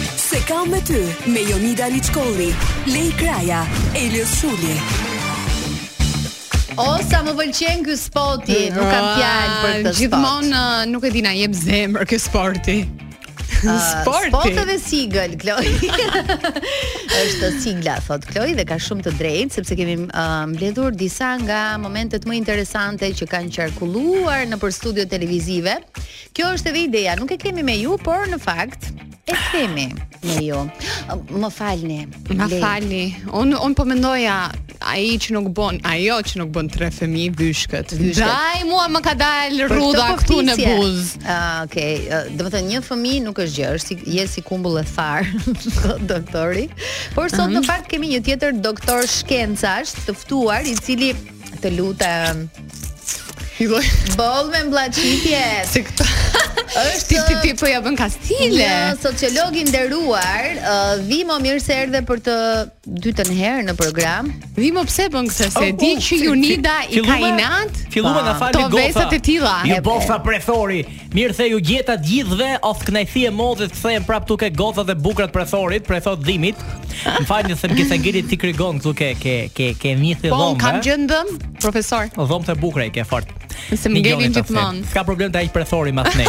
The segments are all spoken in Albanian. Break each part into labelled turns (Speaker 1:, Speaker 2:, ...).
Speaker 1: Diçka me ty me Jonida Liçkolli, Lej Kraja, Elios Shuli.
Speaker 2: O sa më pëlqen ky sporti, nuk kam fjalë për këtë sport.
Speaker 3: Ah, Gjithmonë ë, nuk e di na jep zemër ky sporti.
Speaker 2: Ah,
Speaker 3: sporti.
Speaker 2: Spot edhe sigël, Kloj. është sigla, thot Kloj, dhe ka shumë të drejtë, sepse kemi uh, mbledhur disa nga momentet më interesante që kanë qarkulluar në për studio televizive. Kjo është edhe ideja, nuk e kemi me ju, por në fakt, e kemi me ju. Ë, Më falni.
Speaker 3: Ma
Speaker 2: Lej.
Speaker 3: falni. Un un po mendoja ai që nuk bën, ajo që nuk bën tre fëmijë vyshkët.
Speaker 2: Vyshkët.
Speaker 3: Daj mua më ka dalë
Speaker 2: Për
Speaker 3: rrudha
Speaker 2: këtë po
Speaker 3: këtu në
Speaker 2: flisje.
Speaker 3: buz.
Speaker 2: Ah, okay. Ah, Do të thënë një fëmijë nuk është gjë, është si je si kumbull e thar, thot doktori. Por sot në fakt kemi një tjetër doktor shkencash të ftuar i cili të lutem
Speaker 3: Filloj
Speaker 2: boll me mllaçitje.
Speaker 3: Jo, se këta.
Speaker 2: Është-
Speaker 3: ti ti ti po ja bën kastile.
Speaker 2: Një sociolog i nderuar, uh, Vimo mirë se erdhe për të dytën herë në program.
Speaker 3: Dhimo pse bën këtë se
Speaker 4: Oh,
Speaker 3: di
Speaker 4: oh,
Speaker 3: që
Speaker 4: fi-
Speaker 3: Junida
Speaker 4: fi-
Speaker 3: i ka
Speaker 4: fillume-
Speaker 3: inat.
Speaker 4: Fillume
Speaker 2: Pa.
Speaker 4: na falni
Speaker 3: To
Speaker 4: gofa.
Speaker 3: vesat e tilla.
Speaker 4: Ju
Speaker 2: E,
Speaker 4: bofa
Speaker 2: e.
Speaker 4: prethori. Mirë the ju gjeta të gjithëve, of knajthi e modhe të kthehen prap tuk e gofa dhe bukrat prethorit, prethot dhimit. M'falni se mke ngelit ti krigon këtu ke ke ke ke mjethi
Speaker 3: Po un
Speaker 4: dhomë. eh?
Speaker 3: kam gjë në dëm, profesor.
Speaker 4: Dhomë të bukura i ke fort.
Speaker 3: Se më
Speaker 4: Migjoni
Speaker 3: ngelin
Speaker 4: ta flet.
Speaker 3: gjithmonë. Oh,
Speaker 4: S'ka problem të ajë prethori ma thnej.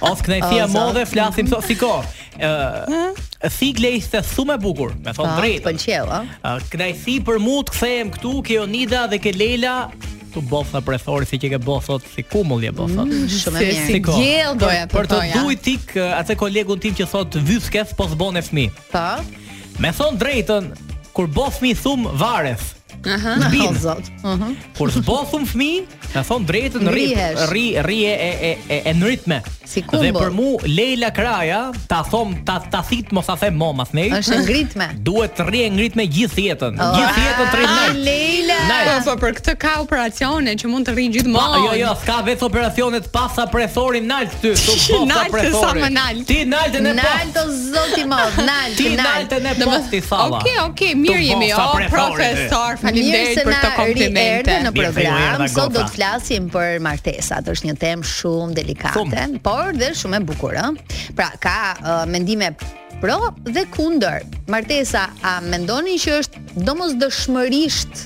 Speaker 4: Of knajthi
Speaker 2: O,
Speaker 4: e
Speaker 2: zot.
Speaker 4: modhe flasim sot siko. Ë thigle ishte thumë e bukur, me thon
Speaker 2: Po, të
Speaker 4: drejt.
Speaker 2: pëlqeu, ëh.
Speaker 4: Uh, knajsi për mu të kthehem këtu, ke Onida dhe ke Lela. Tu botha prethori si që ke bothot, si kumull je bothot.
Speaker 2: Shumë e
Speaker 3: Se si
Speaker 2: mirë.
Speaker 4: Shiko,
Speaker 3: gjell doja
Speaker 4: për të
Speaker 3: thoja.
Speaker 4: duj tik uh, atë kolegun tim që thot vyskes po zbon e fëmi.
Speaker 2: Po.
Speaker 4: Me thon drejtën, kur bo fëmi thum varef.
Speaker 3: Aha.
Speaker 2: O
Speaker 4: Bin.
Speaker 2: zot. Mhm.
Speaker 4: Kur zbo thum fëmi, me thon drejtën rri
Speaker 2: Ngrihesh.
Speaker 4: rri rri e e e, e, e në ritme.
Speaker 2: Si
Speaker 4: Dhe
Speaker 2: kumbull.
Speaker 4: për mu Leila Kraja, ta thom ta ta thit mos ta them mom atnej.
Speaker 2: Është e ngritme.
Speaker 4: Duhet të rri e ngrit me gjithë jetën.
Speaker 3: Oh.
Speaker 4: Gjithë jetën
Speaker 2: Ah,
Speaker 4: të rrinë.
Speaker 2: Leila.
Speaker 3: Po po për këtë ka operacione që mund të rrin gjithmonë.
Speaker 4: Pa, jo, jo, s'ka vetë operacionet pasa prethori nalt ty, tu bosa
Speaker 3: Nalt se
Speaker 4: prethori.
Speaker 3: sa më nalt.
Speaker 4: Ti naltën e
Speaker 2: Nalt
Speaker 4: post.
Speaker 2: o zoti mod, nalt,
Speaker 4: Ti
Speaker 2: nalt.
Speaker 4: naltën e
Speaker 3: Dhe më-
Speaker 4: post ti thalla.
Speaker 3: Okej, okej, mirë
Speaker 4: Tu
Speaker 3: jemi.
Speaker 4: bosa
Speaker 3: O
Speaker 4: prethori,
Speaker 3: profesor,
Speaker 2: Mirë
Speaker 3: faleminderit
Speaker 2: se
Speaker 3: për
Speaker 2: na
Speaker 3: këto komplimente.
Speaker 2: rierdhe në
Speaker 4: Mirë se ju
Speaker 2: program.
Speaker 4: erdha
Speaker 2: Sot do
Speaker 4: goca.
Speaker 2: të flasim për martesat. Është një temë shumë delikate,
Speaker 4: Shumë.
Speaker 2: por dhe shumë e bukur, ë. Pra ka ë, mendime pro dhe kundër. Martesa a mendoni që është domosdoshmërisht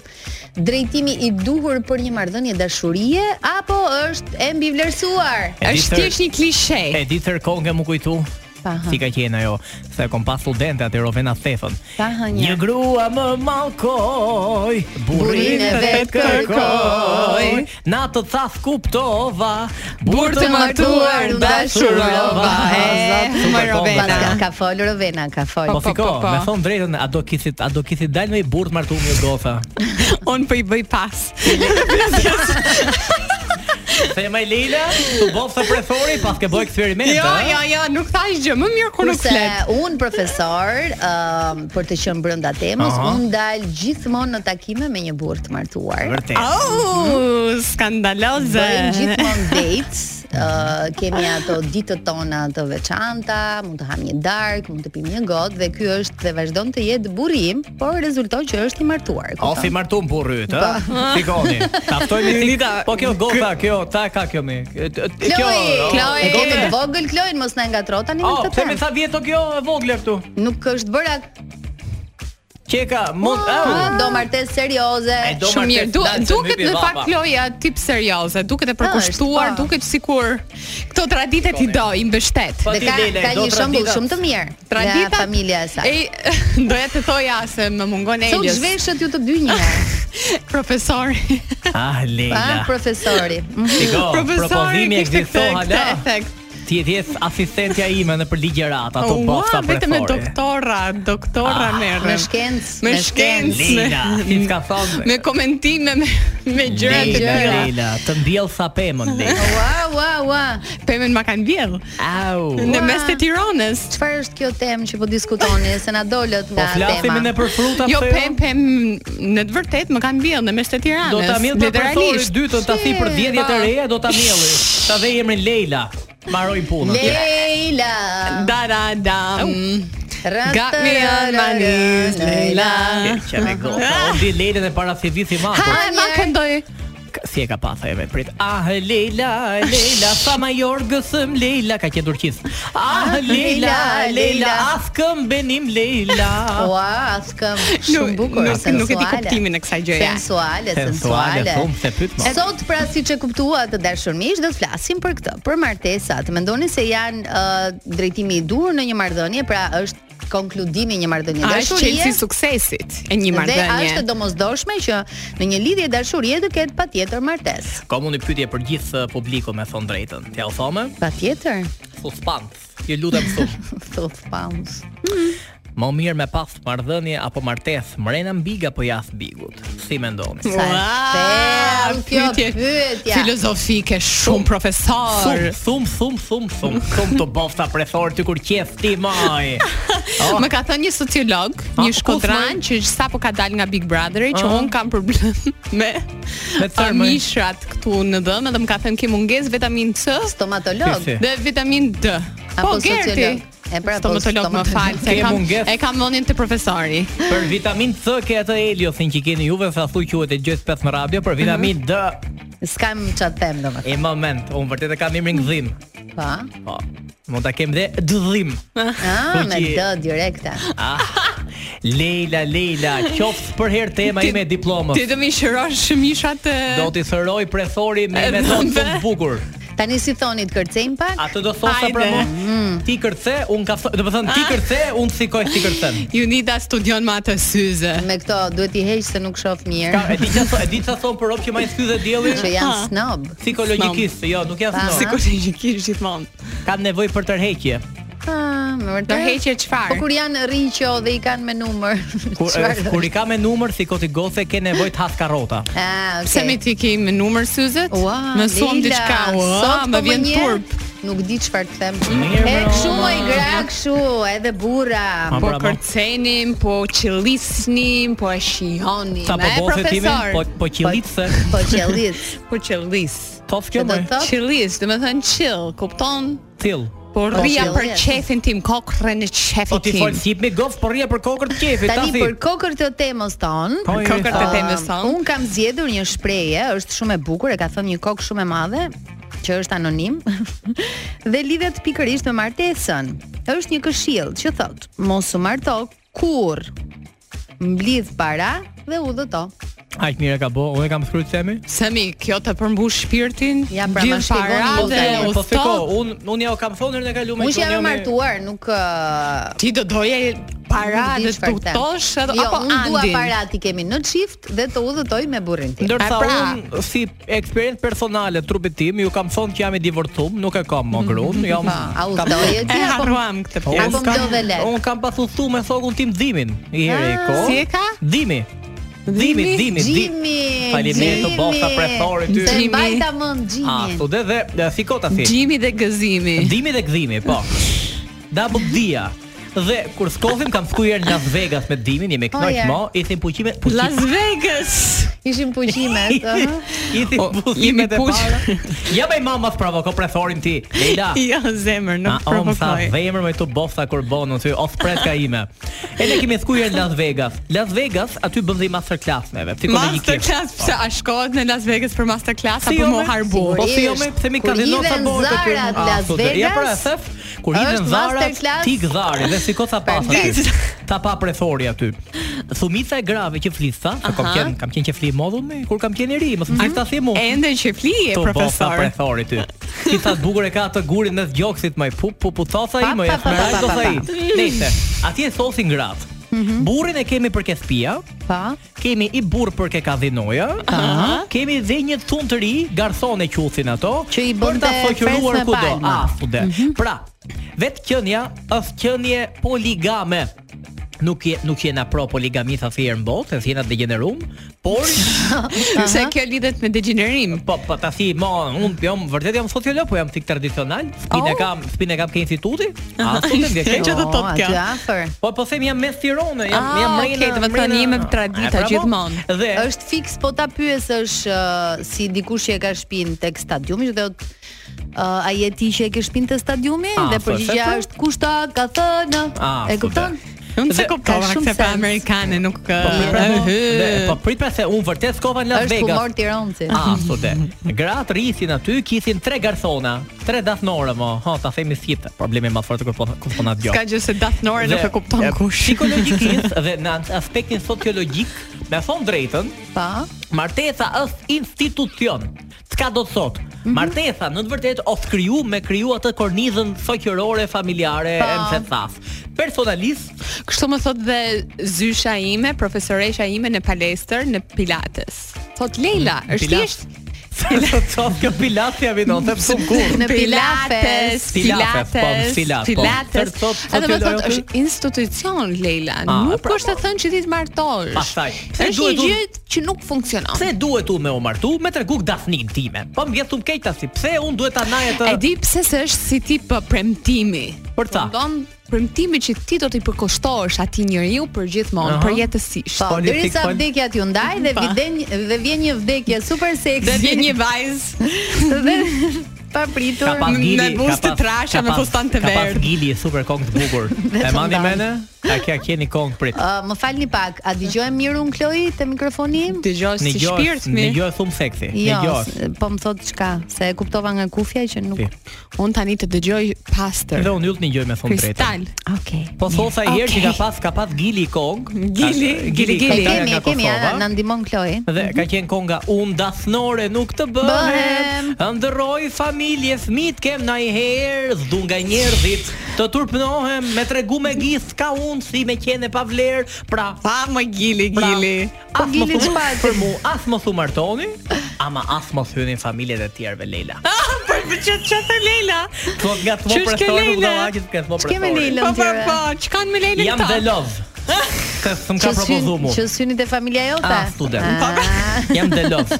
Speaker 2: drejtimi i duhur për një marrëdhënie dashurie apo është e mbivlerësuar?
Speaker 4: E di
Speaker 3: Është
Speaker 4: tër-
Speaker 3: thjesht një klishe.
Speaker 4: E di tër konge mu kujtu.
Speaker 2: Aha.
Speaker 4: Si ka qenë ajo, se kom pas studente atë Rovena Thethën.
Speaker 2: Aha, një.
Speaker 4: Një grua më mallkoj,
Speaker 2: Burrin
Speaker 4: burrin
Speaker 2: e
Speaker 4: e
Speaker 2: vet
Speaker 4: vet kërkoj. Na të thath kuptova,
Speaker 3: Burr të martuar dashurova.
Speaker 2: O,
Speaker 3: E,
Speaker 2: zot,
Speaker 3: më
Speaker 4: super
Speaker 3: Rovena.
Speaker 4: kombo.
Speaker 2: Ka, ka fol Rovena, ka fol.
Speaker 4: Po
Speaker 3: po,
Speaker 4: fiko,
Speaker 3: po, po.
Speaker 4: me thon drejtën, a do kisit, a do kisit dal me i burr të martuar një gotha.
Speaker 3: Un po i bëj pas.
Speaker 4: Thema i Leila, tu bof të prefori, pas ke bëj eksperiment,
Speaker 3: Jo,
Speaker 4: a?
Speaker 3: jo, jo, nuk thash gjë. Më mirë
Speaker 4: Po
Speaker 3: kur nuk
Speaker 2: Kurse
Speaker 3: flet.
Speaker 2: un profesor, ëm për të qenë brenda temës,
Speaker 4: Aha.
Speaker 2: un dal gjithmonë në takime me një burr të martuar.
Speaker 4: Vërtet.
Speaker 3: Au, Oh, skandaloze.
Speaker 2: Bëjmë gjithmonë dates, ë kemi ato ditët tona të veçanta, mund të ham një darkë, mund të pim një gotë dhe ky është dhe vazhdon të jetë burri im, por rezulton që është i martuar.
Speaker 4: O si
Speaker 2: kupton?
Speaker 4: martum burryt, ë? Fikoni. Ta ftoj me si. Po kjo gota, kjo, ta ka kjo me. e- e- Kjo.
Speaker 2: Chloe,
Speaker 4: o,
Speaker 2: Chloe,
Speaker 4: e Oh,
Speaker 2: e
Speaker 4: gota-
Speaker 2: kemi të vogël Chloe, mos na ngatro tani me
Speaker 4: O,
Speaker 2: këtë
Speaker 4: pse me
Speaker 2: temë.
Speaker 4: sa vjeto kjo e vogle këtu?
Speaker 2: Nuk është bëra
Speaker 4: Qeka, mund,
Speaker 2: ë,
Speaker 3: Ah,
Speaker 4: au.
Speaker 2: do martesë serioze.
Speaker 4: E Oh. do
Speaker 3: Shumë mirë.
Speaker 4: martes
Speaker 3: Du,
Speaker 4: dalë se
Speaker 3: duket
Speaker 4: mbypi
Speaker 3: në fakt
Speaker 4: vapa.
Speaker 3: Kloja tip serioze, duket e përkushtuar,
Speaker 2: po.
Speaker 3: duket sikur këto traditë ti do i mbështet.
Speaker 4: Po
Speaker 2: Dhe
Speaker 4: ti,
Speaker 2: ka,
Speaker 4: Lele,
Speaker 2: ka
Speaker 4: do
Speaker 2: një shembull
Speaker 4: traditat.
Speaker 2: shumë të mirë. Tradita
Speaker 3: Tradita
Speaker 2: nga familja e saj.
Speaker 3: E doja të thoja se më mungon
Speaker 2: Se u
Speaker 3: Elios.
Speaker 2: zhveshët ju të dy një herë.
Speaker 3: Profesori.
Speaker 4: Ah,
Speaker 2: Pa,
Speaker 4: Leila.
Speaker 2: profesori. Mhm.
Speaker 4: Shiko,
Speaker 3: Profesori
Speaker 4: propozimi
Speaker 3: kishte këtë
Speaker 4: ekziston
Speaker 3: këtë
Speaker 4: hala.
Speaker 3: efekt.
Speaker 4: Ti je thjesht asistentja ime në për ligjërat, ato
Speaker 3: Ua,
Speaker 4: bosta
Speaker 3: vetëm me
Speaker 4: prefori.
Speaker 3: doktora, doktora
Speaker 4: Ah,
Speaker 3: merrem.
Speaker 2: me shkencë,
Speaker 3: me
Speaker 2: me
Speaker 3: shkencë, me,
Speaker 4: Leila, si s'ka thonë.
Speaker 3: me komentime, me, me gjëra të
Speaker 4: Leila,
Speaker 3: tjera.
Speaker 4: Leila, të mbjell sa pemën, Leila.
Speaker 2: Ua, ua, ua.
Speaker 3: Pemën ma kanë vjedh
Speaker 4: Au.
Speaker 3: në
Speaker 2: Ua.
Speaker 3: mes të Tiranës.
Speaker 2: Çfarë është kjo temë që po diskutoni se na dolët
Speaker 4: Po
Speaker 2: nga
Speaker 4: flasim
Speaker 2: tema?
Speaker 4: ne për fruta
Speaker 3: Jo
Speaker 4: pse
Speaker 3: pem pem në të vërtet më kanë mbjell në mes të Tiranës.
Speaker 4: Do ta mjell për
Speaker 3: literalisht.
Speaker 4: profesorin dytën, ta thi për
Speaker 2: Shit, po.
Speaker 4: dhjetjet e
Speaker 3: pa.
Speaker 4: reja, do ta mjelli. Ta vej emrin Leila. Mbaroj punën.
Speaker 2: Leila.
Speaker 3: Da da da.
Speaker 2: rata,
Speaker 3: Got me on my
Speaker 2: rara,
Speaker 3: knees, Leila.
Speaker 4: Çfarë me gota. Unë di Leilën e para si viti ma.
Speaker 3: Ah. Ha,
Speaker 2: Ah,
Speaker 3: Po, ma
Speaker 2: njerë.
Speaker 3: këndoj.
Speaker 4: si e ka pasur ajo me prit. Ah Leila, Leila, sa ma jor gësëm Leila ka qenë turqis. Ah Leila, Leila, as benim
Speaker 3: Po,
Speaker 4: Leila.
Speaker 2: Ua, askëm shumë bukur,
Speaker 3: Nuk, nuk e di
Speaker 2: sensuale.
Speaker 3: kuptimin e kësaj gjëje.
Speaker 2: Sensuale,
Speaker 4: Sensuale,
Speaker 2: sensuale.
Speaker 4: shumë, se pyet më.
Speaker 2: Sot pra siç e kuptua të dashur miq, do të flasim për këtë, për martesat. Mendoni se janë ë, drejtimi i dur në një marrëdhënie, pra është konkludimi i një marrëdhënie
Speaker 3: A është qelësi
Speaker 2: dashurie.
Speaker 3: suksesit e një
Speaker 2: Dhe a është e
Speaker 3: marrëdhënie?
Speaker 2: domosdoshme që në një lidhje dashurie të ketë patjetër martesë.
Speaker 4: Kam unë një pyetje për gjithë eh, publikun me thon drejtën. T'ja u thome?
Speaker 2: Patjetër?
Speaker 4: Suspant. Ju lutem shumë.
Speaker 2: Thot pounds.
Speaker 4: Më mirë me pas marrëdhënie apo martesë, mrena mbig apo jashtë bigut? Si mendoni?
Speaker 2: Sa e thellë kjo pyetja.
Speaker 3: filozofike shumë
Speaker 4: Thum,
Speaker 3: profesor.
Speaker 4: thum, thum, thum, thum, thum të bofta prethor ty kur qef ti maj. Oh,
Speaker 3: Më ka thënë një sociolog,
Speaker 4: A,
Speaker 2: Oh,
Speaker 3: një
Speaker 4: ku
Speaker 3: shkodran
Speaker 4: thon?
Speaker 3: që sapo ka dalë nga Big Brotheri, që
Speaker 4: Aha.
Speaker 3: un kam problem me
Speaker 4: Me
Speaker 3: a,
Speaker 4: thërmën.
Speaker 3: mishrat këtu në dhëm, edhe më ka thënë ke mungesë vitamin C
Speaker 2: Stomatolog.
Speaker 4: Si, si.
Speaker 3: dhe vitamin D.
Speaker 2: Apo
Speaker 3: po Gerti.
Speaker 2: sociolog. E pra, po,
Speaker 3: stomatolog më
Speaker 2: stomatolog.
Speaker 3: fal, se
Speaker 4: Ke
Speaker 3: kam
Speaker 4: mungesë?
Speaker 3: e kam vendin te profesori.
Speaker 4: për vitamin C ke atë Eliothin që keni juve, sa thuj quhet e gjëjt pes në radio, për vitamin D
Speaker 2: S'kam çfarë them domethënë.
Speaker 4: e moment, unë vërtet e kam emrin gdhim.
Speaker 2: Pa.
Speaker 4: Po. Mund ta kem dhe dëdhim.
Speaker 2: Ah,
Speaker 4: Po
Speaker 2: me
Speaker 4: ti-
Speaker 2: D direkte.
Speaker 4: Ah. Leila, Leila, qoftë për herë tema ime e diplomës.
Speaker 3: Ti do më shërosh mishrat e
Speaker 4: Po. Do t'i thëroj prethori me
Speaker 3: E
Speaker 4: metodë
Speaker 3: dhëmbe.
Speaker 4: të bukur.
Speaker 2: Tani si thoni të kërcejm pak?
Speaker 4: Atë do thosha
Speaker 3: Hajde.
Speaker 4: për
Speaker 2: Mm.
Speaker 4: mua. Ti kërce, unë ka thënë, do të thënë ti kërce, unë sikoj ti kërcen.
Speaker 3: Junida studion me atë syze.
Speaker 2: Me këto duhet i heq se nuk shoh
Speaker 4: Ka, e
Speaker 2: mirë,
Speaker 4: di çfarë, e di çfarë thon për rob që më skyzë dielli.
Speaker 2: që janë
Speaker 3: Ah.
Speaker 2: snob.
Speaker 4: Psikologjikisht, jo, nuk jam
Speaker 2: Pa.
Speaker 4: snob.
Speaker 3: Sigurisht që kish gjithmonë.
Speaker 4: Kam nevojë për tërheqje.
Speaker 2: Ah, më vërtet.
Speaker 3: Tërheqje çfarë?
Speaker 2: Po kur janë rriqo dhe i kanë me numër.
Speaker 4: Kur,
Speaker 2: çfarë-
Speaker 4: kur i ka me numër si koti gose ke nevojë të has karrota.
Speaker 2: Ah, okay.
Speaker 3: Pse me ti ke me numër syzet?
Speaker 2: Ua,
Speaker 3: më suam
Speaker 2: Leila,
Speaker 3: diçka.
Speaker 2: sot
Speaker 3: Ua,
Speaker 2: po
Speaker 3: më vjen
Speaker 2: nje,
Speaker 3: turp.
Speaker 2: Nuk di çfarë të them.
Speaker 4: Mirë,
Speaker 2: E kshu
Speaker 4: bravo.
Speaker 2: o i gra kshu, edhe burra.
Speaker 4: Ma
Speaker 3: Po
Speaker 4: bravo.
Speaker 3: kërcenim, po qëllisnim, po e shihoni.
Speaker 4: Sa po
Speaker 3: me
Speaker 4: gose time,
Speaker 3: profesor.
Speaker 4: po po qillitse.
Speaker 2: Po qellit.
Speaker 3: po qëllis.
Speaker 4: Tof
Speaker 2: Që
Speaker 4: kjo
Speaker 2: do
Speaker 4: më.
Speaker 2: të thotë
Speaker 3: Qëllis, do të thënë chill, kupton?
Speaker 4: Till.
Speaker 3: Po rria për
Speaker 2: qëllis.
Speaker 3: qefin tim, kokrën e
Speaker 4: Po
Speaker 3: qefit
Speaker 4: ti fol
Speaker 3: tim.
Speaker 4: sip me gof, po rria për kokër të qefit, ta
Speaker 2: Tani
Speaker 4: si.
Speaker 2: për kokër të temës ton,
Speaker 4: Po, i-
Speaker 3: Kokër të
Speaker 4: Ah,
Speaker 3: temës
Speaker 2: Um,
Speaker 3: son.
Speaker 2: Un kam zgjedhur një shprehje, është shumë e bukur, e ka thënë një kokë shumë e madhe, që është anonim, dhe lidhet pikërisht me martesën. Është një këshill që thotë: Mos u marto kur mblidh para dhe udhëto.
Speaker 4: Aq mirë ka bë, unë e kam thryt themi.
Speaker 3: Semi, kjo të përmbush shpirtin,
Speaker 2: Ja, pra, ma
Speaker 3: gjithë
Speaker 2: shpjegoni
Speaker 3: para
Speaker 2: mua
Speaker 3: dhe
Speaker 2: tani.
Speaker 3: u
Speaker 4: Po
Speaker 3: thot,
Speaker 4: fiko, unë unë ja u kam thonë në kaluar
Speaker 2: Unë që jam e martuar, nuk ë,
Speaker 3: ti do doje para
Speaker 2: nuk di
Speaker 3: dhe të
Speaker 2: çfarë them.
Speaker 3: utosh edhe-
Speaker 2: jo,
Speaker 3: apo
Speaker 2: unë dua
Speaker 3: andin.
Speaker 2: para ti kemi në çift dhe të udhëtoj me burrin tim.
Speaker 4: Ndërsa
Speaker 3: A, pra.
Speaker 4: unë si eksperiencë personale trupit tim, ju kam thonë që jam i divorcuar, nuk e kam më grun, jam
Speaker 2: Pa, a
Speaker 4: kam-
Speaker 2: udhëtoje
Speaker 3: E
Speaker 2: ti apo
Speaker 3: harruam këtë
Speaker 4: Po,
Speaker 3: pjesë.
Speaker 2: Apo
Speaker 4: unë kam-
Speaker 2: mblodhe lek.
Speaker 4: Unë kam pasuthu me thokun tim dhimin. I herë i
Speaker 2: Ah,
Speaker 4: kohë.
Speaker 3: si e ka?
Speaker 4: Dhimi. Dhimi, dhimi, dhimi.
Speaker 2: Jimmy,
Speaker 4: Faleminderit të bofta prethore ty. Ah,
Speaker 2: Se
Speaker 3: Jimmy.
Speaker 2: mbajta mend
Speaker 4: A,
Speaker 2: Jimin.
Speaker 4: thude dhe, dhe fikota si.
Speaker 3: Gjimi dhe gëzimi.
Speaker 4: Dhimi dhe gdhimi, po. Double dhia. Dhe kur skothim kam skujer në Las Vegas me dhimin, jemi
Speaker 2: Oh,
Speaker 4: kënaq
Speaker 2: yeah.
Speaker 4: mo, i thim puqime, puqime.
Speaker 3: Las Vegas.
Speaker 2: Ishin puqimet, ëh.
Speaker 4: I thim
Speaker 3: O,
Speaker 4: puqimet
Speaker 3: jemi
Speaker 4: e
Speaker 3: puq.
Speaker 4: para. Ja bëj mama të provoko prethorin ti. Leila.
Speaker 3: Jo zemër,
Speaker 4: Na
Speaker 3: nuk
Speaker 4: om sa
Speaker 3: provokoj.
Speaker 4: dhemër me të bofta kur bonën ty, of pretka ime. E ne kemi skujer në Las Vegas. Las Vegas aty bën dhe masterclass neve, psikologjikisht.
Speaker 3: Masterclass, pse a shkohet në Las Vegas për masterclass
Speaker 4: Ah. Si
Speaker 3: apo
Speaker 4: jo,
Speaker 3: më
Speaker 4: me-
Speaker 3: harbu?
Speaker 4: Po si jo me pse mi kazino
Speaker 2: Kur
Speaker 4: sa
Speaker 2: hidhen
Speaker 4: bëhet aty?
Speaker 2: zarat
Speaker 4: Ah,
Speaker 2: Las
Speaker 4: thotë, Ja pra,
Speaker 2: Vegas,
Speaker 4: thef, kur hidhen
Speaker 2: është
Speaker 4: zarat
Speaker 2: masterclass.
Speaker 4: ti gdhari dhe siko sa pas aty.
Speaker 3: Perfekt.
Speaker 4: Ta pa prethori aty. Thumica e grave që flis tha, se kam
Speaker 3: Aha. Mhm.
Speaker 4: qen, kam qen që fli modhull me, kur kam qen i ri, mos më ta them unë.
Speaker 3: Ende që flije
Speaker 4: Të bota
Speaker 3: profesor.
Speaker 4: prethori ty. Ti tha bukur e ka atë gurin mes gjoksit më i pup, pup, pup, thotha i
Speaker 2: Pa,
Speaker 4: më
Speaker 2: pa, pa,
Speaker 4: esmeralda
Speaker 2: pa, pa,
Speaker 4: thotha i.
Speaker 2: pa. Mhm.
Speaker 4: Nëse, atje thosin grat. Burrin e kemi për kethpia,
Speaker 2: Pa.
Speaker 4: kemi i burr për ke kadhinoja, kemi dhe një thun të ri, garson e qusin ato,
Speaker 2: Që i
Speaker 4: për ta
Speaker 2: bënte
Speaker 4: shoqëruar
Speaker 2: fres me
Speaker 4: kudo.
Speaker 2: palma. Mhm.
Speaker 4: Ah, fude. Pra, vetë qenia është qenie poligame. Nuk je nuk jena pro poligami sa thjerë në botë, se jena degenerum, por
Speaker 3: Se kjo lidhet me degenerim.
Speaker 4: po po ta si mo, un jam vërtet jam sociolog, po jam tik tradicional, spinë
Speaker 3: Oh.
Speaker 4: kam, spinë kam ke instituti. Ah, fude, dhe ke.
Speaker 3: Që do thotë
Speaker 2: O,
Speaker 3: kjo?
Speaker 2: aty afër.
Speaker 4: Po po them jam mes Tiranës, jam
Speaker 3: Ah,
Speaker 4: jam
Speaker 3: okay,
Speaker 4: mrena.
Speaker 3: do të thonë
Speaker 4: mrena-
Speaker 3: jemi me
Speaker 4: E,
Speaker 3: tradita
Speaker 4: pra, po.
Speaker 3: gjithmonë.
Speaker 4: Dhe
Speaker 2: Është fiks po ta pyes është ë, si dikush që e ka shtëpinë tek stadiumi që do të uh, a je ti që e ke shtëpinë te stadiumi
Speaker 4: A,
Speaker 2: dhe
Speaker 4: po,
Speaker 2: përgjigjja
Speaker 4: se po.
Speaker 2: është kush ta ka thënë.
Speaker 4: Ah,
Speaker 2: e kupton?
Speaker 4: super.
Speaker 3: Unë se
Speaker 4: Dhe-
Speaker 3: kuptova
Speaker 2: ka shumë
Speaker 3: se pa
Speaker 2: sens.
Speaker 3: amerikane nuk eh, ka.
Speaker 4: Po prit pra, dhe, po
Speaker 3: Po
Speaker 4: prit pra se unë vërtet skova në Las
Speaker 2: Është
Speaker 4: Vegas.
Speaker 2: humor tironci.
Speaker 4: Ah, sute. Gratë rrisin aty, kishin tre garsona, tre dathnore mo. Ha, ta themi si problemi më fort kur po kur po na dëgjoj.
Speaker 3: Ska gjë se dathnore nuk e kupton kush.
Speaker 4: Psikologikisht dhe në aspektin sociologjik, me thon drejtën,
Speaker 2: Po.
Speaker 4: martesa është institucion. Çka do të thotë?
Speaker 3: Mhm.
Speaker 4: Martesa në të vërtetë of kriju me kriju atë kornizën shoqërore, familjare, e më se thaf. Personalisht,
Speaker 3: Kështu më thot dhe zysha ime, profesoresha ime në palestër në Pilates. Thot Leila, është
Speaker 4: Mm, Pilates.
Speaker 3: thjesht
Speaker 4: Sot kjo pilatja vinon, sepse pse kur.
Speaker 2: Në Pilates.
Speaker 3: Pilates,
Speaker 4: Pilates, po, Pilates, po. Tërë
Speaker 3: Pilates.
Speaker 4: thot- thot
Speaker 3: Edhe më
Speaker 4: Leila
Speaker 3: thot
Speaker 4: aty?
Speaker 3: është institucion Leila,
Speaker 4: Ah,
Speaker 3: nuk
Speaker 4: pra,
Speaker 3: është të thënë që ti të martohesh.
Speaker 4: Pastaj, pse
Speaker 3: Është
Speaker 4: duhet
Speaker 3: një
Speaker 4: unë-
Speaker 3: gjë që nuk funksionon.
Speaker 4: Pse duhet u me u martu me tregu dafnin time? Po më vjen thumë keq tash. Pse unë duhet ta naj atë?
Speaker 3: E di pse se është si tip uh, premtimi.
Speaker 4: Për ta.
Speaker 3: Kupton? Premtimi që ti do t'i përkushtohesh atij njeriu për gjithmonë,
Speaker 4: Aha.
Speaker 3: përjetësisht.
Speaker 2: Po,
Speaker 4: Politik,
Speaker 2: derisa
Speaker 4: pol-
Speaker 2: vdekja t'ju ndaj dhe
Speaker 3: Pa.
Speaker 2: vjen dhe vjen një vdekje super seksi.
Speaker 3: Dhe vjen një vajzë
Speaker 2: dhe pa pritur.
Speaker 4: Ka pas gili,
Speaker 3: me buzë të trasha, me fustan të
Speaker 4: Ka pas
Speaker 3: verdh.
Speaker 4: gili super kong të bukur.
Speaker 2: Dhe
Speaker 4: e mani
Speaker 2: fondan.
Speaker 4: mene? A kja keni kong
Speaker 2: Ë,
Speaker 4: prit.
Speaker 2: Uh, më falni pak, a dëgjohem mirë un Kloi te mikrofoni im?
Speaker 3: dëgjoj
Speaker 4: Në
Speaker 3: si
Speaker 4: gjojë,
Speaker 3: shpirt
Speaker 4: në
Speaker 3: mi.
Speaker 4: gjojë thumë seksi. Në
Speaker 2: Jo,
Speaker 4: gjojë.
Speaker 2: s- po më thot çka, se e kuptova nga kufja që nuk.
Speaker 4: Si.
Speaker 3: Un tani të dëgjoj pastër.
Speaker 4: Dhe unë yll në gjojë me thumë drejtë.
Speaker 3: Kristal.
Speaker 2: Okej.
Speaker 4: Po thosa i herë që ka
Speaker 3: Okej.
Speaker 4: pas ka pas gili i kong.
Speaker 3: Gili,
Speaker 4: Ka-
Speaker 3: gili,
Speaker 2: E
Speaker 3: gili.
Speaker 4: ka-
Speaker 2: kemi, e
Speaker 4: nga
Speaker 2: kemi,
Speaker 4: Kosova.
Speaker 2: a, na ndihmon Kloi.
Speaker 4: Dhe ka qenë konga Unë dathnore nuk të bëhem
Speaker 2: Bëhem.
Speaker 4: Ndërroj familje Fmit kem na i herë Zdu nga njerëzit Të turpnohem Me tregu me gjith Ka unë si me qene pa vlerë Pra
Speaker 3: Pa Ah, më gili,
Speaker 4: Pra,
Speaker 3: gili.
Speaker 2: Po
Speaker 4: as më
Speaker 2: gili
Speaker 4: thu-
Speaker 2: çfarë?
Speaker 4: Për mu, as më thu martoni Ama as më thynin familjet e tjerëve Leila
Speaker 2: Ah!
Speaker 3: Po për çfarë çfarë Leila?
Speaker 4: Thot nga të më
Speaker 3: Qysh ke
Speaker 4: presori
Speaker 3: Leila?
Speaker 4: Uda lagit ke të më
Speaker 2: Ç'kemi Leila?
Speaker 4: presori
Speaker 2: Lëm
Speaker 3: Po po
Speaker 2: tjera.
Speaker 3: po, çka me Leila
Speaker 4: Jam dhe lov Kësë më ka
Speaker 2: Që
Speaker 4: propozu
Speaker 2: syn-
Speaker 4: mu
Speaker 2: Që synit e familja jote?
Speaker 4: Ah, student.
Speaker 2: Ah,
Speaker 4: Jam Delos.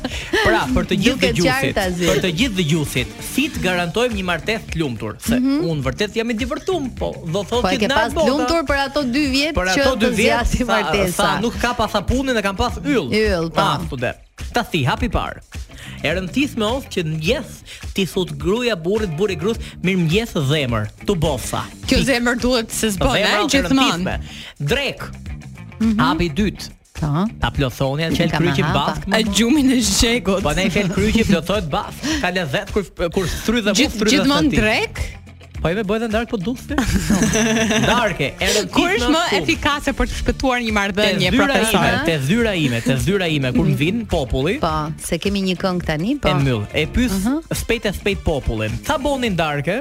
Speaker 4: Pra, për të gjithë
Speaker 2: Duket
Speaker 4: dëgjuesit,
Speaker 2: qartë, Azi.
Speaker 4: për të gjithë dëgjuesit, si të garantojmë një martesë të lumtur? Se unë vërtet jam i divërtum, po do
Speaker 2: Mhm. Po
Speaker 4: thotë
Speaker 2: e
Speaker 4: që
Speaker 2: ke
Speaker 4: na
Speaker 2: pas
Speaker 4: bota,
Speaker 2: lumtur për ato 2 vjet
Speaker 4: për
Speaker 2: që
Speaker 4: ato dy
Speaker 2: të
Speaker 4: vjet
Speaker 2: zjati
Speaker 4: sa,
Speaker 2: martesa.
Speaker 4: sa nuk ka pas apunën e kanë pas yll.
Speaker 2: Yll, po.
Speaker 4: Ah, student. Ta si, hapi parë. E rëndis me ofë që ndjes ti thut gruja burrit, burri grus, mirë mjes zemër, tu bofa.
Speaker 3: Kjo zemër duhet se s'bën,
Speaker 4: Zemra
Speaker 3: e gjithmonë.
Speaker 4: alternativë. Drek.
Speaker 2: Mhm.
Speaker 4: Hapi dytë.
Speaker 2: Po.
Speaker 4: Ta plothoni atë
Speaker 2: Ka
Speaker 4: qel kryqin
Speaker 2: mahapa.
Speaker 4: bask
Speaker 3: A gjumin e zhjegut.
Speaker 4: Po ne i fen kryqi plotohet baf. Ka lezet kur kur thry dhe muf
Speaker 3: Gjith-
Speaker 4: thry dhe
Speaker 3: Gjithmonë
Speaker 4: sati.
Speaker 3: drek.
Speaker 4: Po edhe bëhet ndark po dukse. Darke, erë
Speaker 3: Kur është më efikase për të shpëtuar një marrëdhënie
Speaker 4: ime,
Speaker 3: profesor?
Speaker 4: te zyra ime, te zyra ime kur më vin populli.
Speaker 2: Po, se kemi një këngë tani, po.
Speaker 4: E mbyll. E pyes spejt e spejt popullin. Ça bonin darke?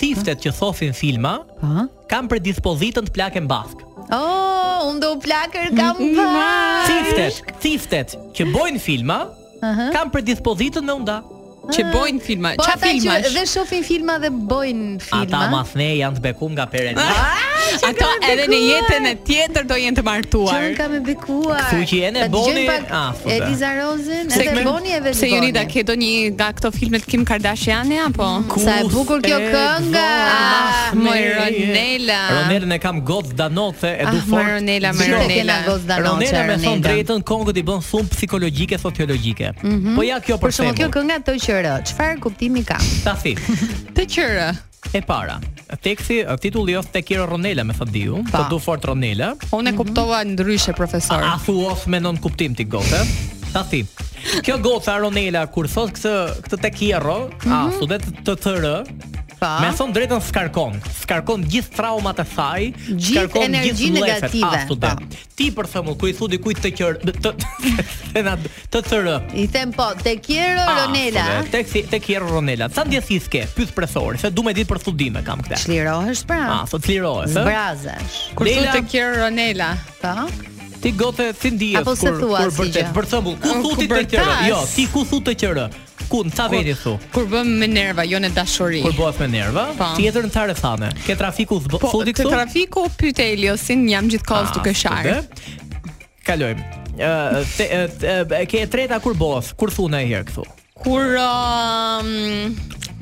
Speaker 4: Tiftet që thofin filma
Speaker 2: Po.
Speaker 4: kanë predispozitën të plaken bask.
Speaker 2: Oh, unë do u plakër kam pa.
Speaker 4: Tiftet, tiftet që bojnë filma kanë predispozitën me unda.
Speaker 3: Që bojnë filma.
Speaker 2: Po
Speaker 3: Qa
Speaker 2: ata që
Speaker 3: filmash?
Speaker 2: dhe shohin filma dhe bojnë
Speaker 4: Ata
Speaker 2: filma.
Speaker 4: masne janë të bekum nga perena.
Speaker 3: Ato
Speaker 2: kanë
Speaker 3: edhe në
Speaker 2: bekuar.
Speaker 3: jetën e tjetër do jenë të
Speaker 2: që
Speaker 3: martuar.
Speaker 2: unë kam e bekuar.
Speaker 4: Ktu që jene
Speaker 2: Ta dëgjojmë
Speaker 4: Boni-
Speaker 2: pak
Speaker 4: Ah, futa.
Speaker 2: Eliza Rozën,
Speaker 3: Se
Speaker 2: edhe
Speaker 3: kemi-
Speaker 2: Boni e vetë.
Speaker 3: Se Jonida ke do një nga këto filmet Kim Kardashiani apo?
Speaker 2: Sa e bukur kjo kënga.
Speaker 3: Ah, moj Ronela.
Speaker 4: Ronelën e kam gocë danoce e
Speaker 3: Ah,
Speaker 4: du fort.
Speaker 3: Maronela,
Speaker 4: Dgjoj,
Speaker 2: Maronela.
Speaker 3: Maronela.
Speaker 2: kena gozë danoce,
Speaker 4: Ronela me thonë
Speaker 2: Ronela.
Speaker 4: drejtën kongët i bën thumë psikologjike sociologjike. Po ja kjo për
Speaker 2: Mhm. Për shembull, kjo
Speaker 4: shembull.
Speaker 2: kënga të qërë, çfarë kuptimi ka?
Speaker 4: Ta si.
Speaker 3: Të qërë.
Speaker 4: E para. Teksti, titulli është Te kiro Ronela me thot diu, të
Speaker 3: Pa.
Speaker 4: du fort Ronela.
Speaker 3: Unë e kuptova ndryshe profesor.
Speaker 4: A thu of me non kuptim ti gotë. Ta si. Kjo goca Ronela kur thot këtë këtë te kiro, a
Speaker 2: Mhm.
Speaker 4: studet të tërë,
Speaker 2: Pa.
Speaker 4: Me thonë drejtën skarkon, skarkon gjithë traumat e saj,
Speaker 2: Gjithë energjinë
Speaker 4: lefet.
Speaker 2: negative. Po.
Speaker 4: Ah, student. Ti për shembull, ku i thu dikujt të qër të të na të tërë.
Speaker 2: I them po, te Kiero Ronela.
Speaker 4: Tek si tek Kiero Ronela. Sa ndjesis ke? Pyet profesori, se du me ditë për studime kam këtë.
Speaker 2: Çlirohesh pra.
Speaker 4: Ah, sot lirohesh, ë?
Speaker 2: Zbrazesh.
Speaker 3: Kur
Speaker 4: Leila,
Speaker 3: thotë të qërë Ronela.
Speaker 2: Po.
Speaker 4: ti gote si ndihesh
Speaker 2: Apo se thua si
Speaker 4: vërtet,
Speaker 2: gjë?
Speaker 4: për shembull, ku
Speaker 3: Ku
Speaker 4: thu ti të qërë?
Speaker 3: bërtas.
Speaker 4: Jo, ti ku thu të qërë? Ku në ca veti thu?
Speaker 3: Kur bëm me nerva, jo në dashuri.
Speaker 4: Kur bëhet me nerva,
Speaker 2: Po.
Speaker 3: Pa.
Speaker 4: tjetër në ta rrethane. Ke trafiku zbo-
Speaker 3: Po,
Speaker 4: thuti
Speaker 3: të
Speaker 4: këtu?
Speaker 3: trafiku pyte Eliosin, jam gjithkohës
Speaker 4: Ah,
Speaker 3: duke sharë.
Speaker 4: së dhe. Kalojmë. Ë te- e, te- e, ke e treta kur bof, kur thuna e herë këtu.
Speaker 3: Kur um,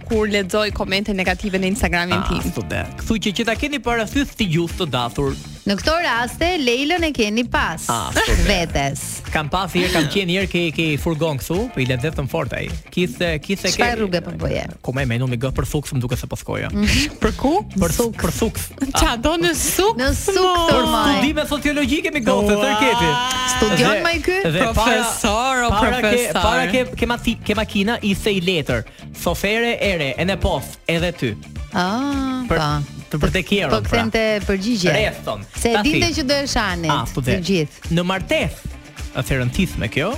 Speaker 3: kur lexoj komente negative në Instagramin
Speaker 4: Ah,
Speaker 3: tim.
Speaker 4: thu dhe. Këtu që që ta keni parasysh ti gjuhë të dathur,
Speaker 2: Në këto raste Leilën e keni pas
Speaker 4: Ah, super.
Speaker 2: vetes.
Speaker 4: Kam pas herë, kam qenë herë ke ke furgon këtu, po i lezetëm fort ai. Kithe kithe ke.
Speaker 2: Çfarë rrugë po boje?
Speaker 4: Ku më mendon me gë për thuks, më duket se po skoja.
Speaker 2: Mhm.
Speaker 4: Për ku? Për thuks, për thuks.
Speaker 3: Qa do në suk?
Speaker 2: Në suk
Speaker 3: mo.
Speaker 2: thor maj.
Speaker 4: Studime sociologjike mi gocë tërketi.
Speaker 2: Oh Studion
Speaker 4: Dhe-
Speaker 2: maj ky?
Speaker 4: dhe para-
Speaker 3: Profesor, o
Speaker 4: para ke-
Speaker 3: profesor.
Speaker 4: Para ke ke mati, ke makina i se i letër. Sofere ere, e ne pof, edhe ty.
Speaker 2: Ah,
Speaker 4: Për
Speaker 2: po.
Speaker 4: të për të kjerën.
Speaker 2: Po kthen te përgjigje.
Speaker 4: Rrethon.
Speaker 2: Se
Speaker 4: Ta
Speaker 2: dinte
Speaker 4: thi.
Speaker 2: që do e shanit.
Speaker 4: Ah, po
Speaker 2: të
Speaker 4: dhe.
Speaker 2: gjithë. Mhm.
Speaker 4: Në martesë, është e rëndësishme kjo.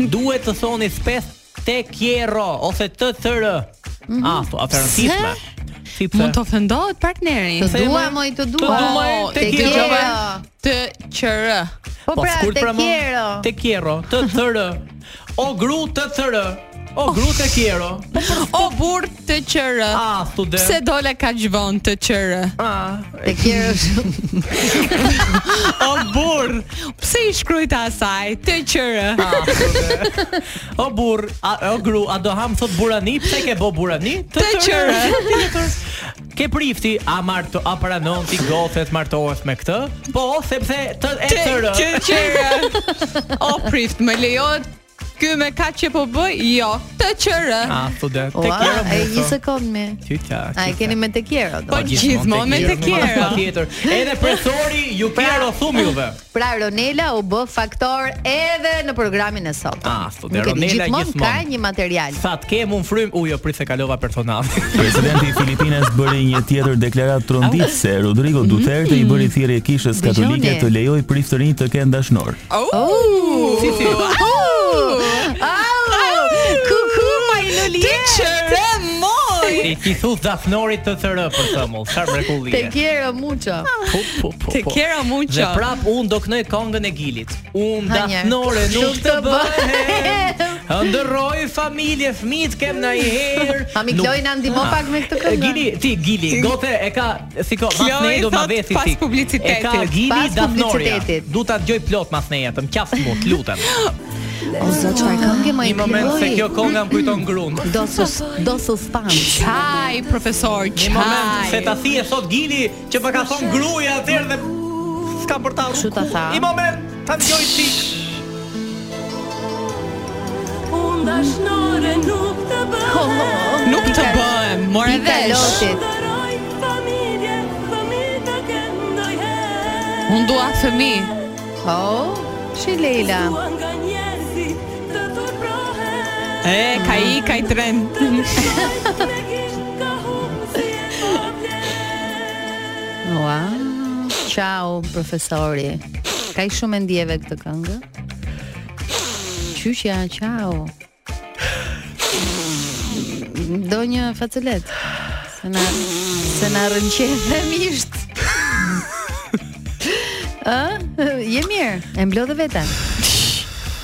Speaker 4: Duhet të thoni spes te kjerro ose të tërë.
Speaker 2: Mhm.
Speaker 4: Ah, po, është e rëndësishme. Si pse?
Speaker 3: Mund të ofendohet partneri. Po,
Speaker 2: Të
Speaker 4: Se
Speaker 2: dua
Speaker 4: më-
Speaker 2: moj të
Speaker 4: të
Speaker 2: dua. Oh,
Speaker 4: dua, e, te
Speaker 2: Te
Speaker 4: kjo,
Speaker 2: kjo.
Speaker 3: Të qërë.
Speaker 2: Po pra,
Speaker 4: s'kurt
Speaker 2: te
Speaker 4: pra, mo.
Speaker 2: kjero.
Speaker 4: Te kjerro, të tërë. O gru të tërë. O
Speaker 2: Oh.
Speaker 4: gru te kjerro.
Speaker 3: O burr të qërë.
Speaker 4: Ah, student.
Speaker 3: Pse dole ka gjvon të qërë?
Speaker 4: Ah,
Speaker 2: Te kjero shumë.
Speaker 4: o burr.
Speaker 3: Pse i shkrujta asaj? Të qërë.
Speaker 4: Ah, student. o burr, a, o gru, a do ham thot burani? Pse ke bo burani? Të
Speaker 3: Të qërë.
Speaker 4: Ke prifti, a marto, a pranon ti gothet martohet me këtë? Po, sepse të e
Speaker 3: Të
Speaker 4: tërë.
Speaker 3: të qërë. O prift, më lejohet Ky me ka që po bëj? Jo, të qërë.
Speaker 4: Ah, student. Te
Speaker 2: Ua,
Speaker 4: kjerro.
Speaker 2: e një sekond me.
Speaker 4: Qyta.
Speaker 2: A e keni me te kjero do.
Speaker 3: Po, gjithmonë me te Pra- kjerro.
Speaker 4: Patjetër. Edhe presori ju kjerro thumjuve.
Speaker 2: Pra Ronela u bë faktor edhe në programin e sot.
Speaker 4: Ah, po,
Speaker 2: Nuk e di,
Speaker 4: Ronela gjithmonë.
Speaker 2: ka një material.
Speaker 4: Sa të kem unë frym, u jo prit se kalova personazhin.
Speaker 5: Presidenti i Filipinës bëri një tjetër deklaratë trondit se Rodrigo Duterte i bëri thirrje kishës
Speaker 2: Dëgjoni.
Speaker 5: katolike të lejoj priftërinj të kenë dashnor.
Speaker 3: Oh! Si si.
Speaker 2: Au! Kuku my
Speaker 3: Të
Speaker 2: Lolie.
Speaker 3: qërë moj.
Speaker 4: Ti ti thu dafnorit të tërë për shembull, çfarë
Speaker 2: Te
Speaker 4: mrekullie.
Speaker 2: kjero muço.
Speaker 4: Po po po.
Speaker 3: Te
Speaker 4: po.
Speaker 3: kjera muqo.
Speaker 4: Dhe prap un do kënoj këngën e Gilit. Un
Speaker 2: Ha, njerë.
Speaker 4: dafnore nuk
Speaker 2: Nuk të
Speaker 4: të bëhet.
Speaker 2: bëhem.
Speaker 4: Ndërroj familje, fëmijët kem në një herë.
Speaker 2: A mi
Speaker 4: Nuk-
Speaker 2: Kloj na ndihmo pak me këtë
Speaker 4: E,
Speaker 2: këngë.
Speaker 4: Gili, ti Gili, gote e ka si ko,
Speaker 3: Kloj
Speaker 4: mas ne do ma
Speaker 3: thot
Speaker 4: veti
Speaker 3: pas
Speaker 4: ti. E
Speaker 3: publicitetit.
Speaker 4: ka Gili
Speaker 2: Pas
Speaker 4: dafnoria.
Speaker 2: publicitetit.
Speaker 4: Du ta dëgjoj plot mas ne jetëm, qafë mut, lutem.
Speaker 2: O zot çfarë këngë më i
Speaker 4: Një moment se
Speaker 2: Kloj?
Speaker 4: kjo kënga më kujton grun.
Speaker 2: do sus do suspans.
Speaker 3: Qaj, profesor, qaj.
Speaker 4: Një moment se ta thije sot Gili që pa ka thon gruaja atëherë dhe s'ka për ta.
Speaker 2: Kështu ta tha.
Speaker 4: Një moment, ta dëgjoj ti.
Speaker 6: Unë dashnore nuk të bëhem
Speaker 3: Nuk të bëhem, more
Speaker 2: Pika
Speaker 3: vesh.
Speaker 2: lotit.
Speaker 6: Ndëroj familje, fëmi të këndoj herë
Speaker 3: Unë dua fëmi.
Speaker 2: Oh, shi Leila.
Speaker 6: Tua nga njerëzit të turprohem
Speaker 3: E, ka i, ka i tren.
Speaker 6: Me gisht ka humë si e po blen
Speaker 2: Ua. Ciao profesori. Ka i shumë e ndjeve këtë këngë? Qyshja, ciao. Do një facelet. Se na se na rënqefe misht. Ë, je mirë. E mblodhe veten.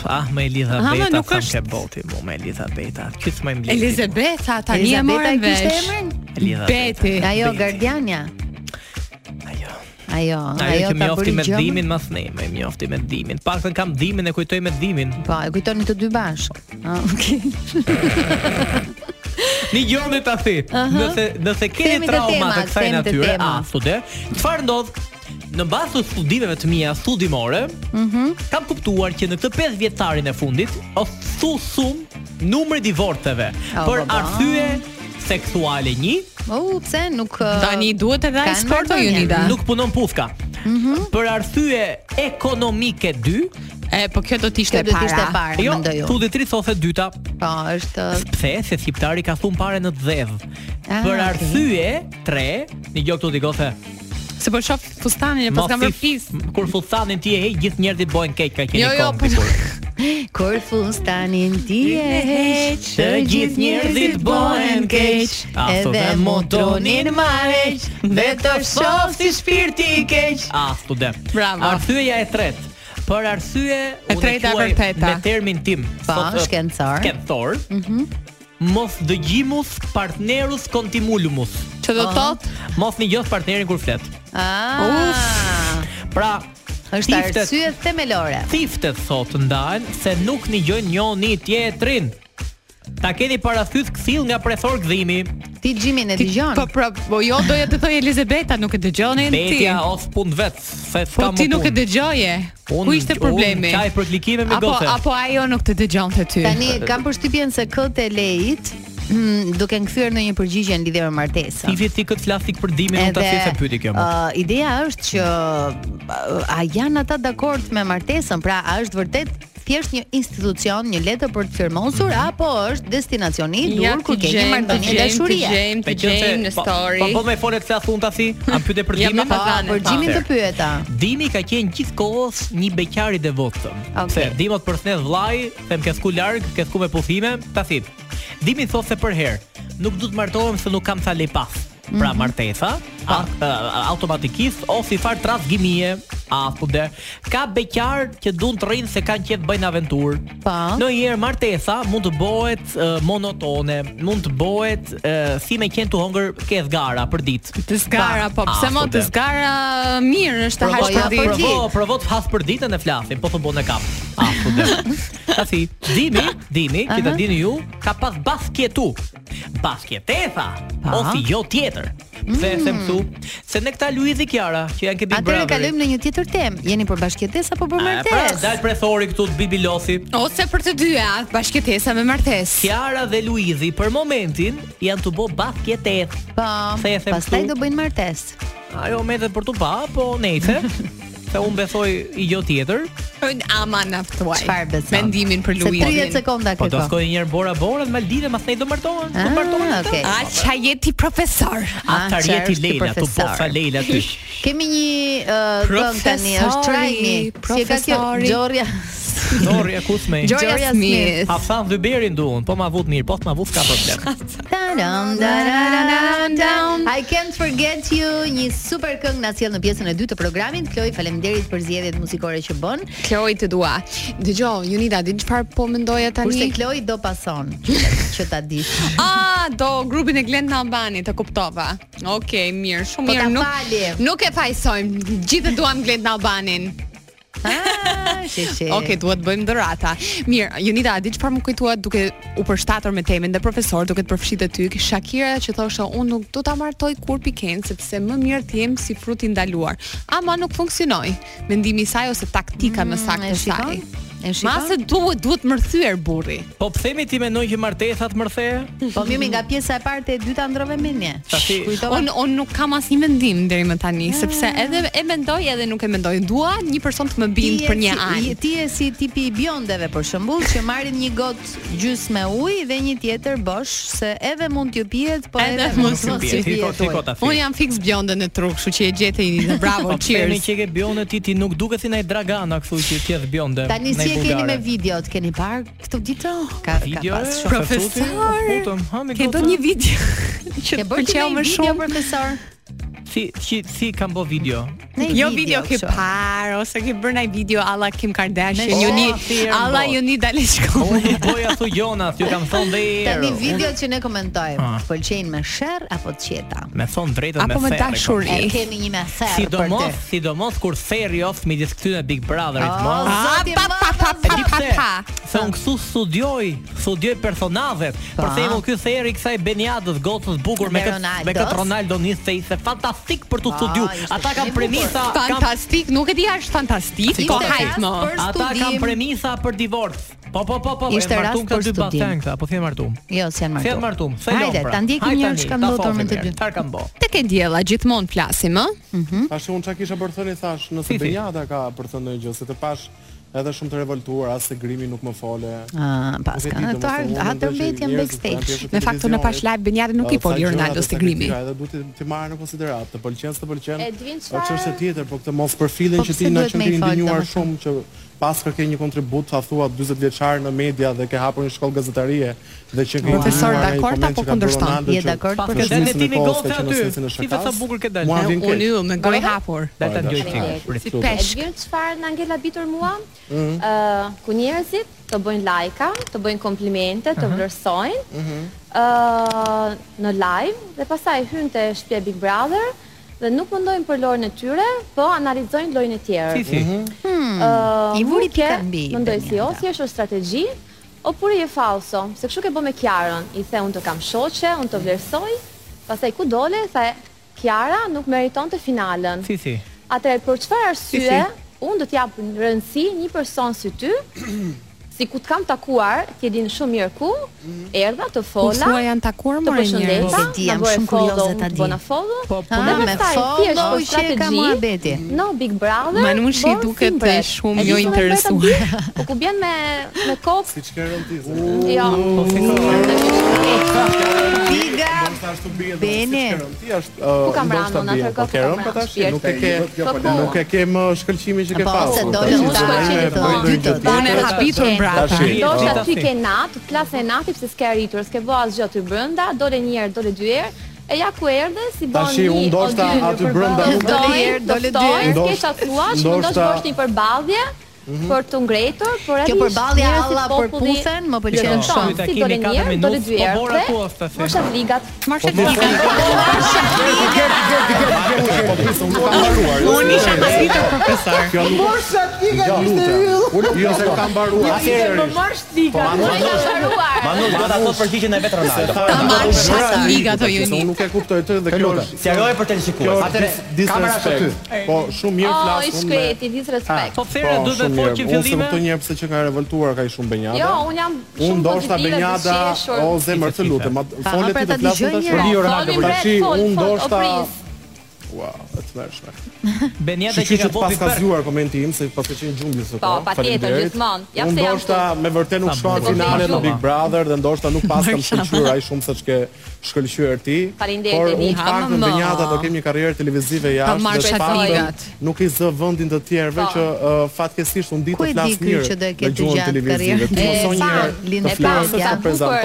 Speaker 4: Ah,
Speaker 3: Aha, ma
Speaker 4: me Elizabeta,
Speaker 3: nuk
Speaker 4: nuk është
Speaker 3: është-
Speaker 4: ke boti, mu me Elizabeta. Ky s'më mbledh.
Speaker 3: Elizabeta, tani e morën
Speaker 2: Elizabeta kishte
Speaker 3: vesh.
Speaker 2: emrin?
Speaker 4: Elizabeta.
Speaker 3: Beti.
Speaker 2: Ajo
Speaker 4: Beti.
Speaker 2: Guardiania.
Speaker 4: Ajo.
Speaker 2: Ajo,
Speaker 4: Ajo
Speaker 2: ajo
Speaker 4: që
Speaker 2: ta
Speaker 4: mjofti
Speaker 2: bëri
Speaker 4: me
Speaker 2: gjëmën.
Speaker 4: dhimin mas ne, më mjofti me dhimin. Paktën kam dhimin e kujtoj me dhimin.
Speaker 2: Po, e kujtoni të dy bashkë. Ah, okay.
Speaker 4: Një gjormë ta thi. Nëse nëse
Speaker 2: Kthehemi
Speaker 4: keni
Speaker 2: te
Speaker 4: trauma
Speaker 2: tema,
Speaker 4: të kësaj
Speaker 2: kthehemi te
Speaker 4: natyre,
Speaker 2: tema.
Speaker 4: a stude, çfarë ndodh? Në bazë të studimeve të mia studimore, kam kuptuar që në këtë 5 vjetarin e fundit, o thu sum numri divorceve
Speaker 2: O,
Speaker 4: për
Speaker 2: baba.
Speaker 4: arsye seksuale një,
Speaker 2: U, pse nuk uh,
Speaker 3: Tani duhet edhe ai
Speaker 2: Kanë
Speaker 3: sporto
Speaker 2: marrëdhënie.
Speaker 3: Unida.
Speaker 4: nuk punon puthka.
Speaker 2: Mhm.
Speaker 4: Për arsye ekonomike 2,
Speaker 3: E, po kjo do
Speaker 2: kjo
Speaker 3: t'ishte
Speaker 2: do të ishte
Speaker 3: para.
Speaker 2: para,
Speaker 4: jo,
Speaker 2: mendoj unë.
Speaker 4: studi 3 thosë dyta,
Speaker 2: Po, është
Speaker 4: Pse se shqiptari ka thun pare në të dhevë.
Speaker 2: Ah,
Speaker 4: për
Speaker 2: okay.
Speaker 4: arsye 3, një gjë këtu dikose,
Speaker 3: Se po shoh fustanin e pas
Speaker 4: Mos
Speaker 3: kam
Speaker 4: i-
Speaker 3: bërë fis.
Speaker 4: m- Kur fustanin ti e hej, gjithë njerëzit bojnë keq ka qenë
Speaker 3: Jo,
Speaker 4: jo,
Speaker 3: jo, po-
Speaker 4: dikur.
Speaker 2: kur fustanin ti e heq,
Speaker 4: Të gjithë njerëzit bohen keq,
Speaker 2: edhe motronin ma heq, dhe të shoh si shpirti i keq.
Speaker 4: Ah, student.
Speaker 3: Bravo.
Speaker 4: Arsyeja e tretë. Për arsye
Speaker 3: E
Speaker 4: unë
Speaker 3: treta e
Speaker 4: quaj
Speaker 3: vërteta.
Speaker 4: Me termin tim.
Speaker 2: Po,
Speaker 4: sot, eh,
Speaker 2: shkencor.
Speaker 4: Shkencor.
Speaker 2: Mhm.
Speaker 4: Mos dëgjimus partnerus contimulumus.
Speaker 3: Që do thot
Speaker 4: Mos një gjëth partnerin kur flet.
Speaker 2: Ah.
Speaker 4: Pra,
Speaker 2: Është
Speaker 4: thiftet-
Speaker 2: arsye themelore.
Speaker 4: Thiftet thot ndajnë se nuk një gjojnë njoni tjetrin Ta keni parasysh këthil nga prethor gëdhimi
Speaker 2: Ti Gjimin e
Speaker 3: Ti-
Speaker 2: dëgjon.
Speaker 3: Po pra, po jo doja të thoj Elizabeta nuk e dëgjonin ti.
Speaker 4: Betja of punë vet, se
Speaker 3: Po
Speaker 4: s'ka më
Speaker 3: ti nuk e
Speaker 4: punë.
Speaker 3: dëgjoje. Ku
Speaker 4: Unë-
Speaker 3: ishte problemi?
Speaker 4: Unë qaj për klikime me
Speaker 3: Apo
Speaker 4: goce.
Speaker 3: apo ajo nuk të dëgjonte ty.
Speaker 2: Tani kam përshtypjen se këtë e leit mm, duke nkthyr në një përgjigje në lidhje me martesën.
Speaker 4: Ti vjet ti këtë flasik për dimin, unë ta si se pyeti kjo
Speaker 3: Ah,
Speaker 2: ë,
Speaker 4: më.
Speaker 2: uh, ideja është që ë, a janë ata dakord me martesën, pra a është vërtet thjesht një institucion, një letër për të firmosur
Speaker 4: Mhm.
Speaker 2: apo është destinacioni i dur ku ke një martënie dashurie?
Speaker 3: Gjejmë, të gjejmë në
Speaker 4: Po
Speaker 3: story.
Speaker 4: po me folet se asun ta si, a pyete për
Speaker 3: Ja,
Speaker 4: dimin?
Speaker 3: ma
Speaker 2: Po,
Speaker 3: Pazanin,
Speaker 2: për
Speaker 3: po.
Speaker 2: Gjimin të pyeta.
Speaker 4: Dimi ka qenë gjithkohës një beqar i devotshëm.
Speaker 2: Okej.
Speaker 4: Se Dimot përsnes vllai, them ke sku larg, ke sku me puthime, ta thip. Dimi thotë se për herë, nuk du të martohem se nuk kam sa lej pas. Pra martesa, a, a, a- automatikisht ose i far trashëgimie, a fude. Ka beqar që duan të rrinë se kanë qenë të bëjnë aventurë.
Speaker 2: Po.
Speaker 4: Ndonjëherë martesa mund të bëhet eh, monotone, mund të bëhet eh, si me qenë të hongër ke zgara për ditë.
Speaker 3: Të zgara, po pse
Speaker 4: Ah,
Speaker 3: mo
Speaker 4: po,
Speaker 3: të
Speaker 4: de.
Speaker 3: zgara mirë është të
Speaker 2: Provo,
Speaker 3: hash
Speaker 2: Po, ja,
Speaker 3: për
Speaker 2: për
Speaker 3: ditë.
Speaker 4: Provo, provo të has për ditën e flasim, po thonë bon e kap. Ah, po dhe. Ka si, dimi, dimi, që ta dini ju, ka pas basketu. Basketesa, ose jo tjetër. Pse e them këtu? Se ne këta Luizi Kiara, që janë ke Big Brother.
Speaker 2: Mm. Atëherë kalojmë në një tjetër temë. Jeni për bashkëtesë apo për
Speaker 4: martes. Pra,
Speaker 2: martesë?
Speaker 4: dal prethori këtu të Bibilosi.
Speaker 3: Ose për të dyja, bashkëtesa me martesë.
Speaker 4: Kiara dhe Luizi për momentin janë të bë basketes.
Speaker 2: Po.
Speaker 4: Se e them
Speaker 2: Pastaj
Speaker 4: këtu.
Speaker 2: do bëjnë martesë.
Speaker 4: Ajo me dhe për të pa, po nejse. Se unë besoj i jo tjetër.
Speaker 3: Ama naftuaj.
Speaker 2: Çfarë beson?
Speaker 3: Mendimin për
Speaker 2: Se 30
Speaker 3: Luizin.
Speaker 2: sekonda
Speaker 4: Po
Speaker 2: ke
Speaker 4: do
Speaker 2: kohë.
Speaker 4: shkojë njërë bora bora, maldive, mas ne do martohen. Do
Speaker 2: Ah,
Speaker 4: martohen. ata.
Speaker 2: okay.
Speaker 3: A qa jeti profesor?
Speaker 2: Ah,
Speaker 4: Atar
Speaker 2: qartë,
Speaker 4: jeti
Speaker 2: ky
Speaker 4: Leila, tu po
Speaker 2: profesor.
Speaker 4: fa Leila ty.
Speaker 2: Kemi një uh, këngë tani, është
Speaker 3: Profesori,
Speaker 2: trajmi. Si e ka kjo?
Speaker 3: profesori.
Speaker 2: Gjorja.
Speaker 4: Dorja kusme.
Speaker 2: Gjo- Gloria Smith.
Speaker 4: Hasan Dyberin duon, po ma vut mirë, po s'ma vut ka problem.
Speaker 2: Taram, darararam, down. I can't forget you, një super këngë na sjell në pjesën e dytë të programit. Kloj, faleminderit për zgjedhjet muzikore që bën.
Speaker 3: Kloj të dua. Dëgjoj, Junida, di çfarë po mendoja
Speaker 2: Kurse
Speaker 3: tani?
Speaker 2: Kloj do pason, që ta dish.
Speaker 3: Ah, do grupin e Glend në Albani, të kuptova. Okej, mirë, shumë
Speaker 2: Po ta
Speaker 3: mirë. Nuk,
Speaker 2: fali.
Speaker 3: nuk e fajsojmë, gjithë e duam Glend në Albanin.
Speaker 2: Ah, she, she.
Speaker 3: Okej, duhet bëjmë dhurata. Mirë, Junita, a di çfarë më kujtua duke u përshtatur me temën dhe profesor duke të përfshitë ty, ki Shakira që thoshte unë nuk do ta martoj kur piken sepse më mirë të jem si fruti ndaluar. Ama nuk funksionoi. Mendimi i saj ose taktika më saktë
Speaker 2: Mm, e
Speaker 3: e saj.
Speaker 2: shikon? E shikon?
Speaker 3: Ma se duhet duhet mërthyer burri.
Speaker 4: Po psemi ti mendon që martesat mërthe?
Speaker 2: Po mimi nga pjesa e parë te e dyta ndrove me një.
Speaker 4: Tashi.
Speaker 2: Kujtova.
Speaker 3: Un un nuk kam asnjë mendim deri më tani, sepse edhe e mendoj edhe nuk e mendoj. Dua një person të më
Speaker 2: Ti
Speaker 3: bind
Speaker 2: je
Speaker 3: për një
Speaker 2: si- je-
Speaker 3: anë.
Speaker 2: Ti je si tipi i biondeve për shembull që marrin një gotë gjysmë me ujë dhe një tjetër bosh se edhe mund t'ju pihet, po edhe,
Speaker 3: Edhe
Speaker 2: mund
Speaker 3: mos ju
Speaker 2: mos ju
Speaker 3: pihet.
Speaker 4: Ti ko
Speaker 2: pihet.
Speaker 4: ti ko
Speaker 2: ujë.
Speaker 4: ta
Speaker 3: Un
Speaker 4: thirr.
Speaker 3: jam fiks bjonde në truk, kështu që e gjete një bravo,
Speaker 4: Po psemi
Speaker 3: cheers.
Speaker 4: që ke bjonde ti ti nuk duket si ndaj dragana, kështu që ti je bjonde.
Speaker 2: Tani
Speaker 4: ndaj
Speaker 2: si e keni
Speaker 4: bulgare.
Speaker 2: me videot, keni parë këtë ditë? Ka ka
Speaker 4: Video
Speaker 2: pas
Speaker 4: e,
Speaker 2: shumë.
Speaker 4: profesor,
Speaker 3: Profesor,
Speaker 4: po futëm, ha, me
Speaker 3: Ke
Speaker 4: goca.
Speaker 3: do një video që
Speaker 2: Ke
Speaker 3: të
Speaker 2: bërë ti
Speaker 3: pëlqeu
Speaker 2: ndonjë
Speaker 3: më
Speaker 2: video,
Speaker 3: shumë?
Speaker 2: profesor?
Speaker 4: Si si si kam bë video.
Speaker 2: Ne
Speaker 3: Jo video ke
Speaker 2: kështu.
Speaker 3: parë ose ke bërë ndaj video alla Kim Kardashian,
Speaker 2: Me
Speaker 3: ju
Speaker 2: shumë
Speaker 3: ni
Speaker 4: thirrë,
Speaker 3: alla
Speaker 4: po.
Speaker 3: ju ni dalë
Speaker 4: Unë
Speaker 3: shkollë.
Speaker 4: nuk boja thu Jonas, ju kam thonë dhe i
Speaker 2: Tani
Speaker 4: erë.
Speaker 2: video që ne komentojmë,
Speaker 4: Ah.
Speaker 2: të pëlqejnë me sherr apo të qeta?
Speaker 4: Unë- Me thonë drejtën me
Speaker 3: Apo me
Speaker 4: serë,
Speaker 3: dashuri.
Speaker 2: E kemi një mesazh
Speaker 4: Sidomos,
Speaker 2: për ty.
Speaker 4: sidomos kur ferri off midis këtyre Big Brotherit,
Speaker 2: Oh,
Speaker 4: mos.
Speaker 2: zoti
Speaker 3: pa,
Speaker 2: madh,
Speaker 3: pa, pa,
Speaker 2: zoti
Speaker 3: pa,
Speaker 4: Di
Speaker 3: pa.
Speaker 4: pse? Se unë këtu studioj, studioj personazet. Për shembull, ky theri i kësaj Beniadës, gocës bukur me
Speaker 2: Dhe
Speaker 4: këtë me
Speaker 2: Ronaldos.
Speaker 4: këtë Ronaldo niste ishte fantastik për tu
Speaker 2: Ah,
Speaker 4: studiu.
Speaker 2: ishte
Speaker 4: Ata
Speaker 2: shumë i
Speaker 4: kanë
Speaker 2: bukur.
Speaker 4: premisa, kanë
Speaker 3: Fantastik, nuk e di a është fantastik,
Speaker 4: Si
Speaker 3: po
Speaker 4: ishte
Speaker 3: hajt
Speaker 2: rast
Speaker 3: më.
Speaker 2: për
Speaker 4: ata kanë
Speaker 2: studim.
Speaker 4: premisa për divorc. Po po po po,
Speaker 2: Ishte
Speaker 4: e
Speaker 2: rast
Speaker 4: martum ka
Speaker 2: për
Speaker 4: dy
Speaker 2: studim.
Speaker 4: basen këta, po thjen martum.
Speaker 2: Jo, s'janë martuar.
Speaker 4: Thjen martum, se
Speaker 2: Hajde, ta ndjekim një që kanë ndodhur me të dy.
Speaker 4: Çfarë kanë bë?
Speaker 3: Tek e diella gjithmonë flasim, ë?
Speaker 7: Tash unë çka kisha bërë thënë i thash,
Speaker 4: Si,
Speaker 7: nëse
Speaker 4: si.
Speaker 7: Benjada ka bërë thënë ndonjë gjë, se të pash edhe shumë të revoltuar, as se grimi nuk më fole.
Speaker 2: Ah, paska. Ato ato mbetjen backstage.
Speaker 3: Në fakt, unë e pash live Benjadin,
Speaker 7: Oh,
Speaker 3: nuk i po foli Ronaldos të grimi.
Speaker 7: Edhe duhet të- të marrë në konsiderat, të pëlqen, të pëlqen.
Speaker 8: E Edwin,
Speaker 7: O
Speaker 8: çfarë-
Speaker 7: çështë tjetër, po këtë mos perfilin
Speaker 2: Po
Speaker 7: që ti
Speaker 2: pse
Speaker 7: na
Speaker 2: duhet me i
Speaker 7: qenë
Speaker 2: fol,
Speaker 7: ndinjuar
Speaker 2: domethënë?
Speaker 7: shumë që pas ka ke një kontribut, tha thua 40 vjeçar në media dhe ke hapur një shkollë gazetarie dhe që ke
Speaker 3: Profesor,
Speaker 7: ndinjuar ai
Speaker 3: dakord
Speaker 7: koment
Speaker 3: apo
Speaker 7: që ka bërë
Speaker 3: kundërshton?
Speaker 7: Ronaldo
Speaker 2: Je
Speaker 7: që-
Speaker 2: dakord
Speaker 4: Pa
Speaker 2: për
Speaker 7: Në
Speaker 4: këtë
Speaker 7: shnesin
Speaker 4: dhe
Speaker 7: e
Speaker 4: ti me
Speaker 7: kostë,
Speaker 4: gocë
Speaker 7: që në
Speaker 4: aty.
Speaker 7: shnesin e
Speaker 4: Si sa
Speaker 7: shakas.
Speaker 4: bukur ke dalë.
Speaker 7: Mua vjen keq.
Speaker 3: Unë ju me gojë hapur.
Speaker 4: Dal ta
Speaker 7: Po,
Speaker 4: dëgjoj
Speaker 7: dashur.
Speaker 4: ti.
Speaker 8: Faleminderit.
Speaker 4: Prit.
Speaker 3: Peshk.
Speaker 8: Edvin, çfarë na ngel habitur mua? Ëh, ku njerëzit të bëjnë lajka, të bëjnë komplimente, të vlerësojnë. Ëh, në live dhe pastaj hyn te shtëpia Big Brother dhe nuk mundojnë për lojën e tyre, po analizojnë lojën e tjerë.
Speaker 4: Si si.
Speaker 8: Ëh,
Speaker 2: hmm, I vuri
Speaker 8: Vuke,
Speaker 2: pikën mbi,
Speaker 8: Mendoj si
Speaker 2: Benjada.
Speaker 8: o si është o strategji, o pure je falso, se kështu ke bë me Kiarën. I the unë të kam shoqe, unë të vlerësoj, Pastaj ku dole, the Kiara nuk meritonte finalen.
Speaker 4: Si si.
Speaker 8: Atëherë për çfarë arsye
Speaker 3: Si, si.
Speaker 8: unë do t'jap rëndësi një person si ty, si ku të kam takuar, ti e din shumë mirë ku,
Speaker 2: Mhm.
Speaker 8: erdha të
Speaker 3: Po
Speaker 8: fola,
Speaker 3: thua janë takuar më
Speaker 8: të
Speaker 3: njërë.
Speaker 8: përshëndeta,
Speaker 2: Se di,
Speaker 8: na
Speaker 2: jam
Speaker 8: bëre
Speaker 2: shumë
Speaker 8: follow,
Speaker 2: kurioze
Speaker 8: unë
Speaker 2: ta
Speaker 8: të
Speaker 2: di.
Speaker 8: bëna follow.
Speaker 4: Po, po.
Speaker 8: dhe
Speaker 2: Ah, me
Speaker 8: pastaj thjesht
Speaker 2: follow
Speaker 8: për
Speaker 2: që e ka
Speaker 8: strategji,
Speaker 2: muhabeti.
Speaker 8: No Big Brother.
Speaker 3: Manushi
Speaker 8: bërë
Speaker 3: duket,
Speaker 8: si mbret.
Speaker 3: e, shumë
Speaker 8: E di
Speaker 3: jo
Speaker 8: me mbret aty,
Speaker 3: interesuar.
Speaker 8: Po ku bjen me me kokë?
Speaker 7: Si çka rëndizë.
Speaker 2: Po,
Speaker 8: Jo.
Speaker 2: Diga.
Speaker 7: Ndoshta ashtu bie
Speaker 2: Beni.
Speaker 7: domethënë si është. ë,
Speaker 8: Ku kam
Speaker 7: ndoshta
Speaker 8: ramën,
Speaker 7: bie.
Speaker 8: atëherë
Speaker 7: Po
Speaker 8: ku
Speaker 7: ke
Speaker 8: kam
Speaker 7: rëmë
Speaker 8: ramën,
Speaker 7: tash,
Speaker 8: shpirtin.
Speaker 7: nuk e ke
Speaker 8: Po, po.
Speaker 7: nuk e ke më shkëlqimin që ke
Speaker 2: Po,
Speaker 7: pasur.
Speaker 2: se
Speaker 7: tash,
Speaker 2: dole
Speaker 7: që
Speaker 8: unë
Speaker 7: zëvendë e
Speaker 8: shkaqe të
Speaker 7: bëj
Speaker 8: thonë.
Speaker 7: ndonjë gjë
Speaker 2: Unë
Speaker 7: tjetër.
Speaker 3: Unë e habitur brapa.
Speaker 7: Tashi.
Speaker 4: Do
Speaker 8: Ndoshta
Speaker 4: Gjithashtu.
Speaker 8: ty ke natë, klasë e natë pse s'ke arritur, s'ke bë asgjë aty brenda, dole një herë, dole dy herë. E ja ku erdhe si bën
Speaker 7: Tashi,
Speaker 8: një
Speaker 7: unë ndoshta
Speaker 8: o dy në
Speaker 7: aty
Speaker 8: përballje.
Speaker 7: brenda nuk-
Speaker 2: Dole një herë, dole dy
Speaker 8: Doftojnë,
Speaker 7: herë.
Speaker 8: s'ke çatuar,
Speaker 7: Ndoshta- Mhm.
Speaker 8: ndoshta bësh një përballje për të ngritur, por
Speaker 2: Kjo
Speaker 8: edhe
Speaker 2: përballja
Speaker 8: njerëzit
Speaker 2: alla për
Speaker 8: populli
Speaker 2: puthen, më pëlqen
Speaker 8: lëndon.
Speaker 2: shumë.
Speaker 8: Si dole një herë, dole dy herë.
Speaker 4: Po bora
Speaker 8: Kthe,
Speaker 4: ku është tash.
Speaker 8: Mosha ligat.
Speaker 3: Marrë shëtë
Speaker 7: Po pse unë kam mbaruar. Unë isha pasitë profesor. Kjo nuk
Speaker 9: Borsa tiga
Speaker 7: Jo,
Speaker 9: ishte yll.
Speaker 7: unë jo se kam mbaruar. Atëherë.
Speaker 9: tiga.
Speaker 5: Manu, do ta thot përgjigjen e vetë Ronaldo.
Speaker 7: Ta
Speaker 3: marrë shaka liga, thoj unë.
Speaker 7: Unë nuk e kuptoj të dhe kjo është.
Speaker 5: Sqaroj për
Speaker 7: Kjo
Speaker 5: teleshikues.
Speaker 7: është
Speaker 5: Atëre,
Speaker 7: dis-
Speaker 5: kamera është aty.
Speaker 7: disrespect. Po shumë mirë
Speaker 8: Oh,
Speaker 7: flas
Speaker 8: i
Speaker 7: unë. me-
Speaker 8: shkreti, disrespekt.
Speaker 4: Po pse duhet të foqim
Speaker 7: Unë
Speaker 4: fillime?
Speaker 7: kuptoj një herë pse që ka revoltuar kaq shumë Benjada.
Speaker 8: Jo, unë jam
Speaker 7: Ah, Unë
Speaker 8: shumë
Speaker 7: ndoshta
Speaker 8: pozitive,
Speaker 7: Benjada,
Speaker 8: dëshishur.
Speaker 7: o zemër të lutem, ma fole
Speaker 2: pra
Speaker 7: ti
Speaker 2: ta
Speaker 7: të flasim
Speaker 2: dëgjoj
Speaker 7: tash.
Speaker 2: njëra.
Speaker 7: Rio
Speaker 8: Folim, Brad,
Speaker 7: tashi
Speaker 8: fol,
Speaker 7: unë
Speaker 8: fol,
Speaker 7: ndoshta
Speaker 8: o pris.
Speaker 7: Ua, e të mërshme.
Speaker 4: Benjada
Speaker 7: Kështu
Speaker 4: që
Speaker 7: që
Speaker 4: ka
Speaker 7: të
Speaker 4: bopi
Speaker 7: pas ka
Speaker 4: për.
Speaker 7: zgjuar komenti im se pas ka qenë gjumbi sot.
Speaker 8: Po, patjetër, gjithmonë. Ja
Speaker 7: Unë
Speaker 8: pse jam
Speaker 7: ndoshta me vërtet nuk
Speaker 4: Sa
Speaker 7: shkon në
Speaker 4: bukur.
Speaker 7: finalen
Speaker 4: Po,
Speaker 7: në Big
Speaker 4: po.
Speaker 7: Brother dhe ndoshta nuk pas kam shkëlqyer ai shumë sa ç'ke shkëlqyer ti.
Speaker 8: Faleminderit,
Speaker 7: Por
Speaker 8: Edi.
Speaker 7: unë të paktën
Speaker 3: Ama,
Speaker 7: Benjada do kem një karrierë televizive jashtë
Speaker 3: marrë
Speaker 7: dhe të
Speaker 3: shatë ligat.
Speaker 7: paktën nuk i zë vendin të tjerëve
Speaker 8: Po.
Speaker 7: që uh, fatkeqësisht unë di
Speaker 2: Ku
Speaker 7: të
Speaker 2: e di
Speaker 7: flas
Speaker 2: ky
Speaker 7: mirë.
Speaker 2: që do e
Speaker 7: me
Speaker 2: ketë
Speaker 7: gjuhën
Speaker 2: gjatë
Speaker 7: televizive. Ti
Speaker 2: karrierën?
Speaker 7: mos
Speaker 8: E,
Speaker 7: një
Speaker 8: fan,
Speaker 7: herë
Speaker 2: Lindë
Speaker 7: të
Speaker 8: E pa,
Speaker 2: Flasë,
Speaker 7: flasësh, të
Speaker 8: sa
Speaker 2: ja.
Speaker 8: bukur, sa
Speaker 7: prezantosh,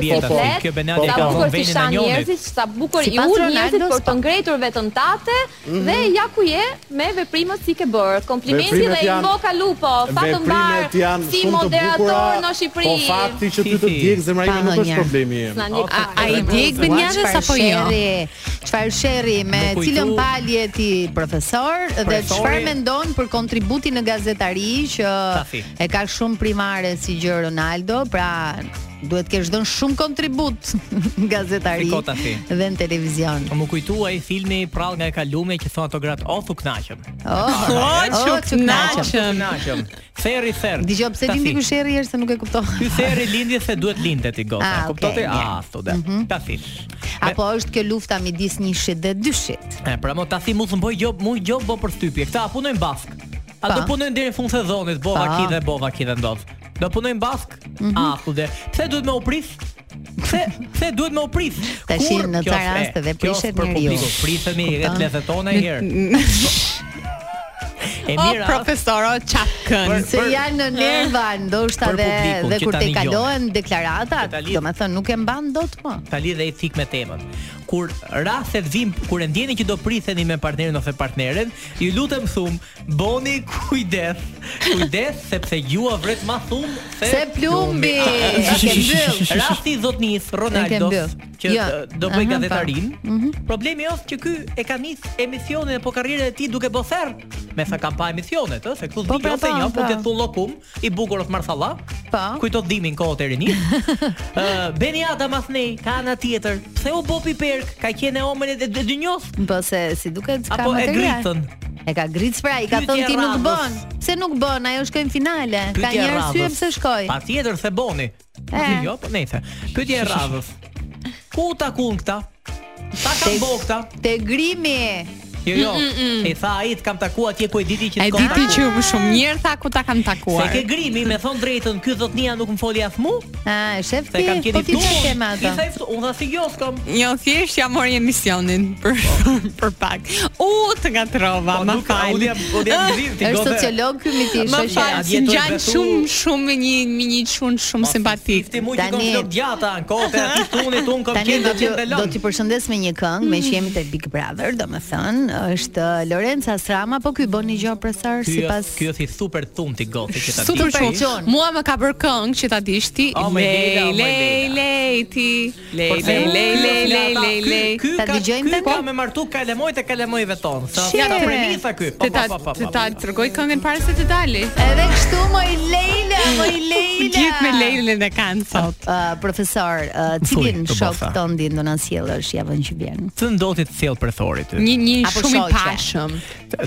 Speaker 4: si
Speaker 8: ti
Speaker 4: jeta,
Speaker 8: flet,
Speaker 4: kjo Benjadi
Speaker 8: sa
Speaker 4: ka vënë
Speaker 8: bukur ti
Speaker 4: venin
Speaker 8: shan
Speaker 4: e njonit.
Speaker 8: njerëzit, sa bukur i
Speaker 2: Sipas
Speaker 8: ullë
Speaker 2: Ronaldos,
Speaker 8: njerëzit për
Speaker 2: po.
Speaker 8: të ngritur vetën tate dhe ja ku je me veprimet si ke bërë. Komplimenti
Speaker 7: Mhm. Veprimet
Speaker 8: dhe i
Speaker 7: janë-
Speaker 8: ngoka lupo, fatë mbar,
Speaker 7: Veprimet janë
Speaker 8: si
Speaker 7: shumë të bukura.
Speaker 8: moderator në Shqipëri.
Speaker 7: Po fakti që ty
Speaker 4: Si,
Speaker 7: të
Speaker 4: si.
Speaker 7: djeg zemra ime
Speaker 2: Pa,
Speaker 7: nuk është
Speaker 2: njerë.
Speaker 7: problemi im.
Speaker 8: Na një-
Speaker 4: Okej.
Speaker 3: A i djegë Benjadës
Speaker 2: Çfarë
Speaker 3: apo jo?
Speaker 2: sherri, Çfarë sherri me
Speaker 4: Më kujtu-
Speaker 2: cilën palje ti profesor dhe
Speaker 4: Profesori-
Speaker 2: çfarë mendon për kontributin në gazetari që
Speaker 4: fi.
Speaker 2: e ka shumë primare si gjë Ronaldo, pra duhet kesh dhënë shumë kontribut në gazetari
Speaker 4: Fiko, ta fi.
Speaker 2: dhe në televizion.
Speaker 4: Më kujtu ai filmi prall nga e kalume që thon ato gratë o thu knaqem.
Speaker 2: Oh,
Speaker 3: O, që
Speaker 2: knaqem.
Speaker 3: knaqëm.
Speaker 4: Knaqem. Therri therr.
Speaker 2: Dgjoj pse
Speaker 4: Ta
Speaker 2: lindi
Speaker 4: si.
Speaker 2: ky sherri herë se nuk e kuptova.
Speaker 4: Ky theri lindje se duhet lindte ti gota.
Speaker 2: Ah,
Speaker 4: Kuptote?
Speaker 2: okay, Mhm.
Speaker 4: Ah, thotë. Ta fish.
Speaker 2: Apo është kjo lufta midis njëshit dhe dyshit?
Speaker 4: E, pra mo ta si mu të mboj gjob, mu gjob bo për stypje. Këta a punojnë bask. A
Speaker 2: Pa.
Speaker 4: do punojnë deri në fund sezonit, bova
Speaker 2: Pa.
Speaker 4: ki dhe bova ki dhe ndodh. Do punojnë bask?
Speaker 2: Mhm.
Speaker 4: A, thude. Pse duhet me u pris? Pse pse duhet me u pris?
Speaker 2: Tashi,
Speaker 4: Kur-
Speaker 2: në
Speaker 4: Kjo
Speaker 2: ca
Speaker 4: është- e,
Speaker 2: raste dhe
Speaker 4: kjo është
Speaker 2: prishet
Speaker 4: për
Speaker 2: njeriu.
Speaker 4: publikun. Prisemi e
Speaker 2: Kupton?
Speaker 4: lezetona një herë.
Speaker 2: Po,
Speaker 4: Oh, E
Speaker 3: O,
Speaker 4: mira. është-
Speaker 3: profesor, o
Speaker 4: Për-
Speaker 3: qakën.
Speaker 2: Se
Speaker 4: për-
Speaker 2: janë në nerva ndoshta
Speaker 4: për
Speaker 2: dhe
Speaker 4: publikun
Speaker 2: dhe
Speaker 4: që
Speaker 2: kur
Speaker 4: ta
Speaker 2: te
Speaker 4: dëgjon.
Speaker 2: kalohen
Speaker 4: Që ta
Speaker 2: deklaratat,
Speaker 4: lidh.
Speaker 2: domethënë nuk e mban dot më.
Speaker 4: ta lidhe i thik me temën. Kur rastet vim, kur e ndjeni që do pritheni me partnerin ose partneren, ju lutem thum, boni kujdes. Kujdes sepse jua vret më thum se,
Speaker 2: Se plumbi. E ke mbyll.
Speaker 4: Rasti i zotnis Ronaldo
Speaker 2: mbyll.
Speaker 4: që
Speaker 2: Jo.
Speaker 4: d- do bëj
Speaker 2: Aha, Mhm.
Speaker 4: gazetarin. Problemi është që ky e ka nis emisionin apo karrierën e tij duke bërë therr, me sa kanë pa emisionet, ë, se këtu
Speaker 2: Po,
Speaker 4: zgjidhja
Speaker 2: pra,
Speaker 4: ose
Speaker 2: po,
Speaker 4: një, po
Speaker 2: po.
Speaker 4: të thull lokum, i bukur of Marsalla.
Speaker 2: Po.
Speaker 4: Kujto dhimin kohët e rinis. Ë, Beni Ada Mathney ka ana tjetër. Pse u bë piperk? Ka qenë e omël e dy njos?
Speaker 2: Po se si duket ka
Speaker 4: Apo e
Speaker 2: material.
Speaker 4: gritën?
Speaker 2: E ka gritë pra, i ka
Speaker 4: Pyetja
Speaker 2: thënë ti
Speaker 4: e
Speaker 2: nuk
Speaker 4: radhës.
Speaker 2: bën. Pse nuk bën? Ajo shkoi në finale. Ka
Speaker 4: Pyetja
Speaker 2: një
Speaker 4: e
Speaker 2: arsye
Speaker 4: radhës.
Speaker 2: pse shkoi.
Speaker 4: Patjetër se boni.
Speaker 2: E.
Speaker 4: Jo, po nejse. Pyetja e radhës. Ku u takun këta? Ta kam
Speaker 2: Tek-
Speaker 4: bo këta.
Speaker 2: Te Mm, grimi.
Speaker 4: Jo, jo. E tha ai të kam takuar atje ku e diti që
Speaker 3: E
Speaker 4: t'kom
Speaker 3: diti
Speaker 4: taku."
Speaker 3: që më shumë njërë tha ku ta kam
Speaker 4: Se
Speaker 3: takuar.
Speaker 4: ke grimi, me thon drejtën, ky zotnia nuk më foli as mua,
Speaker 2: A, e shef
Speaker 4: se
Speaker 2: ti? Po
Speaker 4: kam qenë i
Speaker 2: ti çfarë
Speaker 4: ftuar.
Speaker 2: ke me
Speaker 4: Ti
Speaker 2: atë?
Speaker 4: sa i ftuar, unë tha si jo s'kam.
Speaker 3: Jo, thjesht ja mori emisionin për për pak. U të gatrova,
Speaker 4: Po
Speaker 3: më
Speaker 4: nuk
Speaker 3: fal.
Speaker 4: u jam, u jam gzim ti
Speaker 2: Është
Speaker 4: gote.
Speaker 2: sociolog ky miti
Speaker 3: Më
Speaker 2: shoqë.
Speaker 3: fal,
Speaker 4: a
Speaker 3: si
Speaker 4: jetu e
Speaker 3: ngjan
Speaker 4: betu?
Speaker 3: shumë shumë me një me një çun
Speaker 4: Po,
Speaker 3: shumë simpatik.
Speaker 4: Ti mund të kom
Speaker 2: Tani-
Speaker 4: flok gjata në kote aty tunit, un kam
Speaker 2: Tani
Speaker 4: qenë
Speaker 2: do
Speaker 4: atje
Speaker 2: t'ju
Speaker 4: në
Speaker 2: do
Speaker 4: lëm. Mm.
Speaker 2: t'ju përshëndes me një këngë, me që jemi te Big Brother, domethënë, është Lorenza Srama, po ky bën një gjë profesor
Speaker 4: Ky
Speaker 2: sipas
Speaker 4: ky është i super thunti goci që ta di.
Speaker 3: Super
Speaker 2: Super
Speaker 3: qoftë.
Speaker 2: qoftë.
Speaker 3: Mua më ka bër këngë që ta dish ti.
Speaker 4: Oh, my
Speaker 3: Lej,
Speaker 4: Leila, oh, my
Speaker 3: lej,
Speaker 4: Leila.
Speaker 3: lej ti. Lej,
Speaker 4: Por
Speaker 3: lej,
Speaker 4: se-
Speaker 3: lej, lej, lej, lej,
Speaker 4: Ky-
Speaker 3: lej.
Speaker 4: Ky
Speaker 2: Ta
Speaker 4: ka
Speaker 2: dëgjojmë
Speaker 4: ky
Speaker 2: të
Speaker 4: ka
Speaker 2: po?
Speaker 4: me martu kalemojt e kalemojve tonë. Sa
Speaker 2: Shire.
Speaker 4: ka prenisa ky. Po
Speaker 3: Të ta,
Speaker 4: po po
Speaker 3: të
Speaker 4: po.
Speaker 3: ta tregoj këngën para se të dali.
Speaker 2: Edhe kështu moj Leila, moj Leila.
Speaker 3: Gjithë me Leilën e kanë sot.
Speaker 2: Uh, profesor, uh, cilin
Speaker 4: Thuj, të
Speaker 2: shok
Speaker 4: bota.
Speaker 2: ton din do na sjellësh javën që vjen?
Speaker 4: Të ndoti të sjell prethori ty.
Speaker 3: Një një
Speaker 2: Apo
Speaker 3: shumë i
Speaker 2: shoqe.
Speaker 3: pashëm.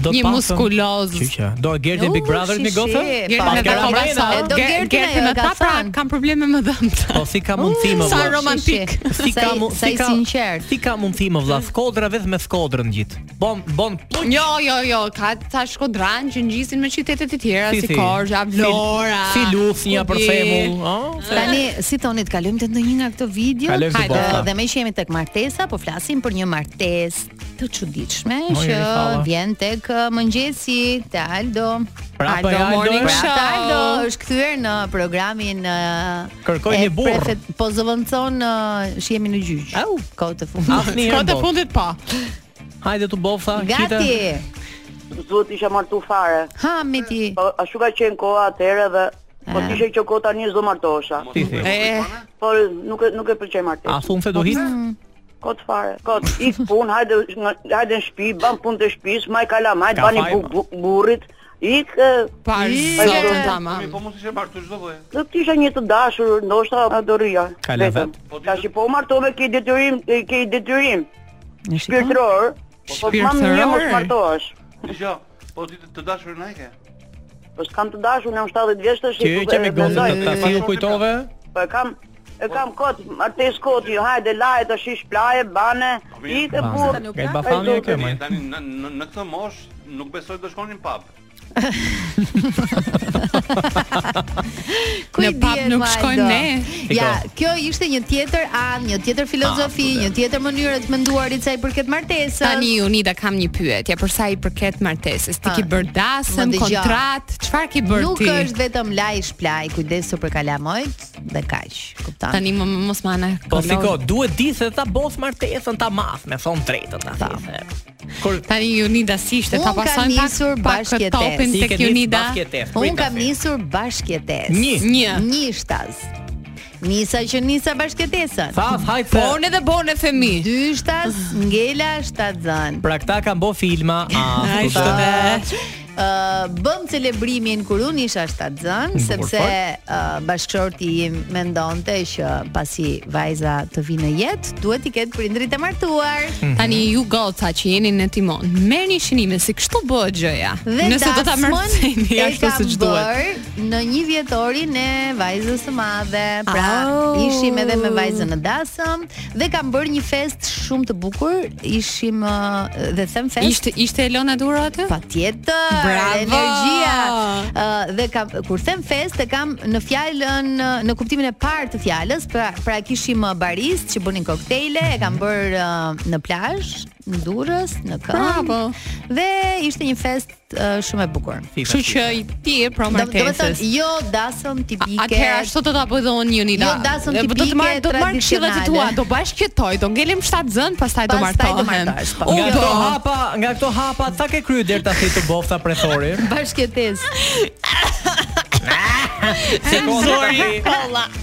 Speaker 4: Do
Speaker 3: Një
Speaker 4: pasëm-
Speaker 3: muskuloz.
Speaker 4: Që që. Do Gerti Big
Speaker 2: Uh,
Speaker 4: Brother
Speaker 2: shi,
Speaker 4: në gocë?
Speaker 2: shi,
Speaker 4: Pa
Speaker 3: Gertën e
Speaker 2: Gertën
Speaker 3: ta
Speaker 4: Gertën
Speaker 3: ka
Speaker 4: Brenda,
Speaker 3: vrasë.
Speaker 2: E, do Gertën
Speaker 3: Gertën
Speaker 2: ajo,
Speaker 3: e
Speaker 2: ka
Speaker 3: ta pra
Speaker 2: thënë.
Speaker 3: kam probleme më dhëmta.
Speaker 4: Po si ka mundësi më
Speaker 3: sa
Speaker 4: vëlla?
Speaker 3: rom- romantik.
Speaker 4: Si ka mu,
Speaker 2: sa
Speaker 4: si
Speaker 2: i
Speaker 4: ka
Speaker 2: sinqert.
Speaker 4: Si ka mundësi më vëlla? Skodra vetëm me skodrën gjithë. Bon bon
Speaker 3: Jo, jo, jo, ka ta shkodran që ngjisin me qytetet e tjera si, Korgja,
Speaker 4: Si-
Speaker 3: Vlora.
Speaker 4: Si Lusnja për
Speaker 3: Kudir.
Speaker 4: shembull, ëh?
Speaker 2: Tani si thoni të kalojmë te ndonjë nga këto video?
Speaker 4: Kalojmë te
Speaker 2: Hajde,
Speaker 4: bosta.
Speaker 2: dhe me që jemi tek martesa, po flasim për një martesë të çuditshme
Speaker 4: O,
Speaker 2: që
Speaker 4: jeni falla.
Speaker 2: vjen tek uh, mëngjesi te Aldo.
Speaker 4: Pra
Speaker 3: Aldo Morning
Speaker 2: Pra
Speaker 3: Show.
Speaker 2: ta Aldo është kthyer në programin uh,
Speaker 4: Kërkoj
Speaker 2: e
Speaker 4: një burr.
Speaker 2: prefet- Po zëvendëson uh, që jemi në gjyq.
Speaker 4: Au.
Speaker 2: Kohë të fundit.
Speaker 4: Asnjëherë
Speaker 3: Kohë të
Speaker 4: bot.
Speaker 3: fundit po.
Speaker 4: Hajde tu bofa, kita.
Speaker 2: Gati.
Speaker 9: duhet isha martu fare.
Speaker 2: Ha me ti.
Speaker 9: Po ashtu ka qenë koha atëherë dhe po
Speaker 8: Eh.
Speaker 9: tishe që kohë tani s'do martohesha.
Speaker 4: Si, si.
Speaker 3: E,
Speaker 9: Po nuk e- nuk e pëlqej
Speaker 4: A
Speaker 9: martesën.
Speaker 4: thun se duhet?
Speaker 3: Mm.
Speaker 9: Kot fare. Kot ik pun, hajde nga- hajde në shtëpi, ban punë të shtëpis, maj kalam, hajde
Speaker 4: Ka
Speaker 9: bani
Speaker 4: fajma.
Speaker 9: bu- bu- burrit. Ik e,
Speaker 3: par
Speaker 2: Ike.
Speaker 3: zotën tamam.
Speaker 10: Po mos ishe martu çdo lloj.
Speaker 9: do të isha një të dashur, ndoshta a do rija.
Speaker 4: Ka levet.
Speaker 9: Tash po u martove ke detyrim, e, ke detyrim
Speaker 2: Në shikoj.
Speaker 9: shpirtëror. Po
Speaker 3: Shpirtëror?
Speaker 9: mam mirë mos martohesh.
Speaker 10: Dgjoj. Po ti të- të dashur na e ke.
Speaker 9: Po s'kam të dashur, jam 70 vjeç tash.
Speaker 4: Ti e
Speaker 9: ku-
Speaker 4: që me
Speaker 9: e, mendoj.
Speaker 4: gozën të ta si u kujtove?
Speaker 9: Po e kam e kam kot, martes kot, ju hajde laje të shish plaje, bane, i të burr.
Speaker 4: Nga i bafami e kjo, maj.
Speaker 10: Tani tani në në- në këtë mosh nuk besoj të shkonin pub.
Speaker 2: Ku i
Speaker 3: Në pub
Speaker 2: dihet,
Speaker 3: nuk
Speaker 2: Valdo?
Speaker 3: shkojmë ne.
Speaker 2: Ja, kjo ishte një tjetër anë, një tjetër filozofi, një tjetër mënyrë të menduarit sa i përket martesës.
Speaker 3: Tani Unida kam një pyetje për sa i përket martesës. Ti
Speaker 2: Ha.
Speaker 3: ki bër dasëm,
Speaker 2: Më dëgjo.
Speaker 3: kontratë, çfarë ki bër
Speaker 2: Nuk
Speaker 3: ti?
Speaker 2: është vetëm laj shplaj, kujdesu për kalamojt dhe kaq, kupton?
Speaker 3: Tani më më- mos mana.
Speaker 4: Po siko, duhet di se ta bos martesën ta mas, me thon drejtën ta thjesë. Kur
Speaker 3: Tani Unida si ishte,
Speaker 2: Unë
Speaker 3: ta
Speaker 2: kam
Speaker 3: pasojmë pak
Speaker 2: nisur
Speaker 3: pak
Speaker 2: bashkë
Speaker 3: topin
Speaker 4: ti
Speaker 3: tek
Speaker 4: ke një
Speaker 3: Unida.
Speaker 4: basketes.
Speaker 2: Un kam nisur bashkëtes.
Speaker 4: Një.
Speaker 3: Një.
Speaker 2: Një shtas. Nisa që nisa bashkëtesën.
Speaker 4: Thaf, hajtë se...
Speaker 3: Bone dhe bone femi.
Speaker 2: Dy shtas, ngela shtatzën.
Speaker 4: Pra këta kanë bo filma, a,
Speaker 3: Ai
Speaker 4: tu da.
Speaker 3: shtë
Speaker 2: Uh, bëm celebrimin kur unë isha shtatzën, sepse uh, bashkëshorti im mendonte që pasi vajza të vinë në jetë, duhet i ketë prindrit e martuar.
Speaker 4: Mm.
Speaker 3: Tani ju goca që jeni në timon, merrni shinimin se kështu bëhet gjëja. Nëse do ta
Speaker 2: dasmën
Speaker 3: mërceni
Speaker 2: e
Speaker 3: ashtu
Speaker 2: kam
Speaker 3: siç duhet.
Speaker 2: bërë Në një vjetorin e vajzës së madhe, pra
Speaker 3: Au.
Speaker 2: ishim edhe me vajzën në dasëm dhe kam bërë një fest shumë të bukur. Ishim ë, dhe them fest.
Speaker 3: Ishte ishte Elona Duro aty?
Speaker 2: Patjetër,
Speaker 3: Bravo!
Speaker 2: energjia. Ë, dhe kam kur them fest, e kam në fjalën ë, në kuptimin e parë të fjalës, pra, pra kishim ë, barist që bënin koktejle, e kam bër ë, në plazh, në Durrës, në Këmbë.
Speaker 3: Bravo.
Speaker 2: Dhe ishte një fest ë, shumë e bukur.
Speaker 3: Kështu që ti je pro
Speaker 2: Do do të
Speaker 3: martesës.
Speaker 2: thonë jo dasëm tipike.
Speaker 3: Atëherë ashtu do ta bëj dhe unë Unida.
Speaker 2: Jo, dasëm
Speaker 3: Dhe do të marr
Speaker 2: tipike,
Speaker 3: do të marr këshillat e tua,
Speaker 2: tradicionale.
Speaker 3: do bashkëtoj, do ngelim 7 zën, pastaj do
Speaker 2: Pastaj do
Speaker 3: martohem.
Speaker 2: martohesh, po.
Speaker 3: U
Speaker 4: Nga
Speaker 3: do.
Speaker 4: këto hapa, nga këto hapa, sa ke kryer deri tash të bofta prethori?
Speaker 2: bashkëtes.
Speaker 4: Se zori.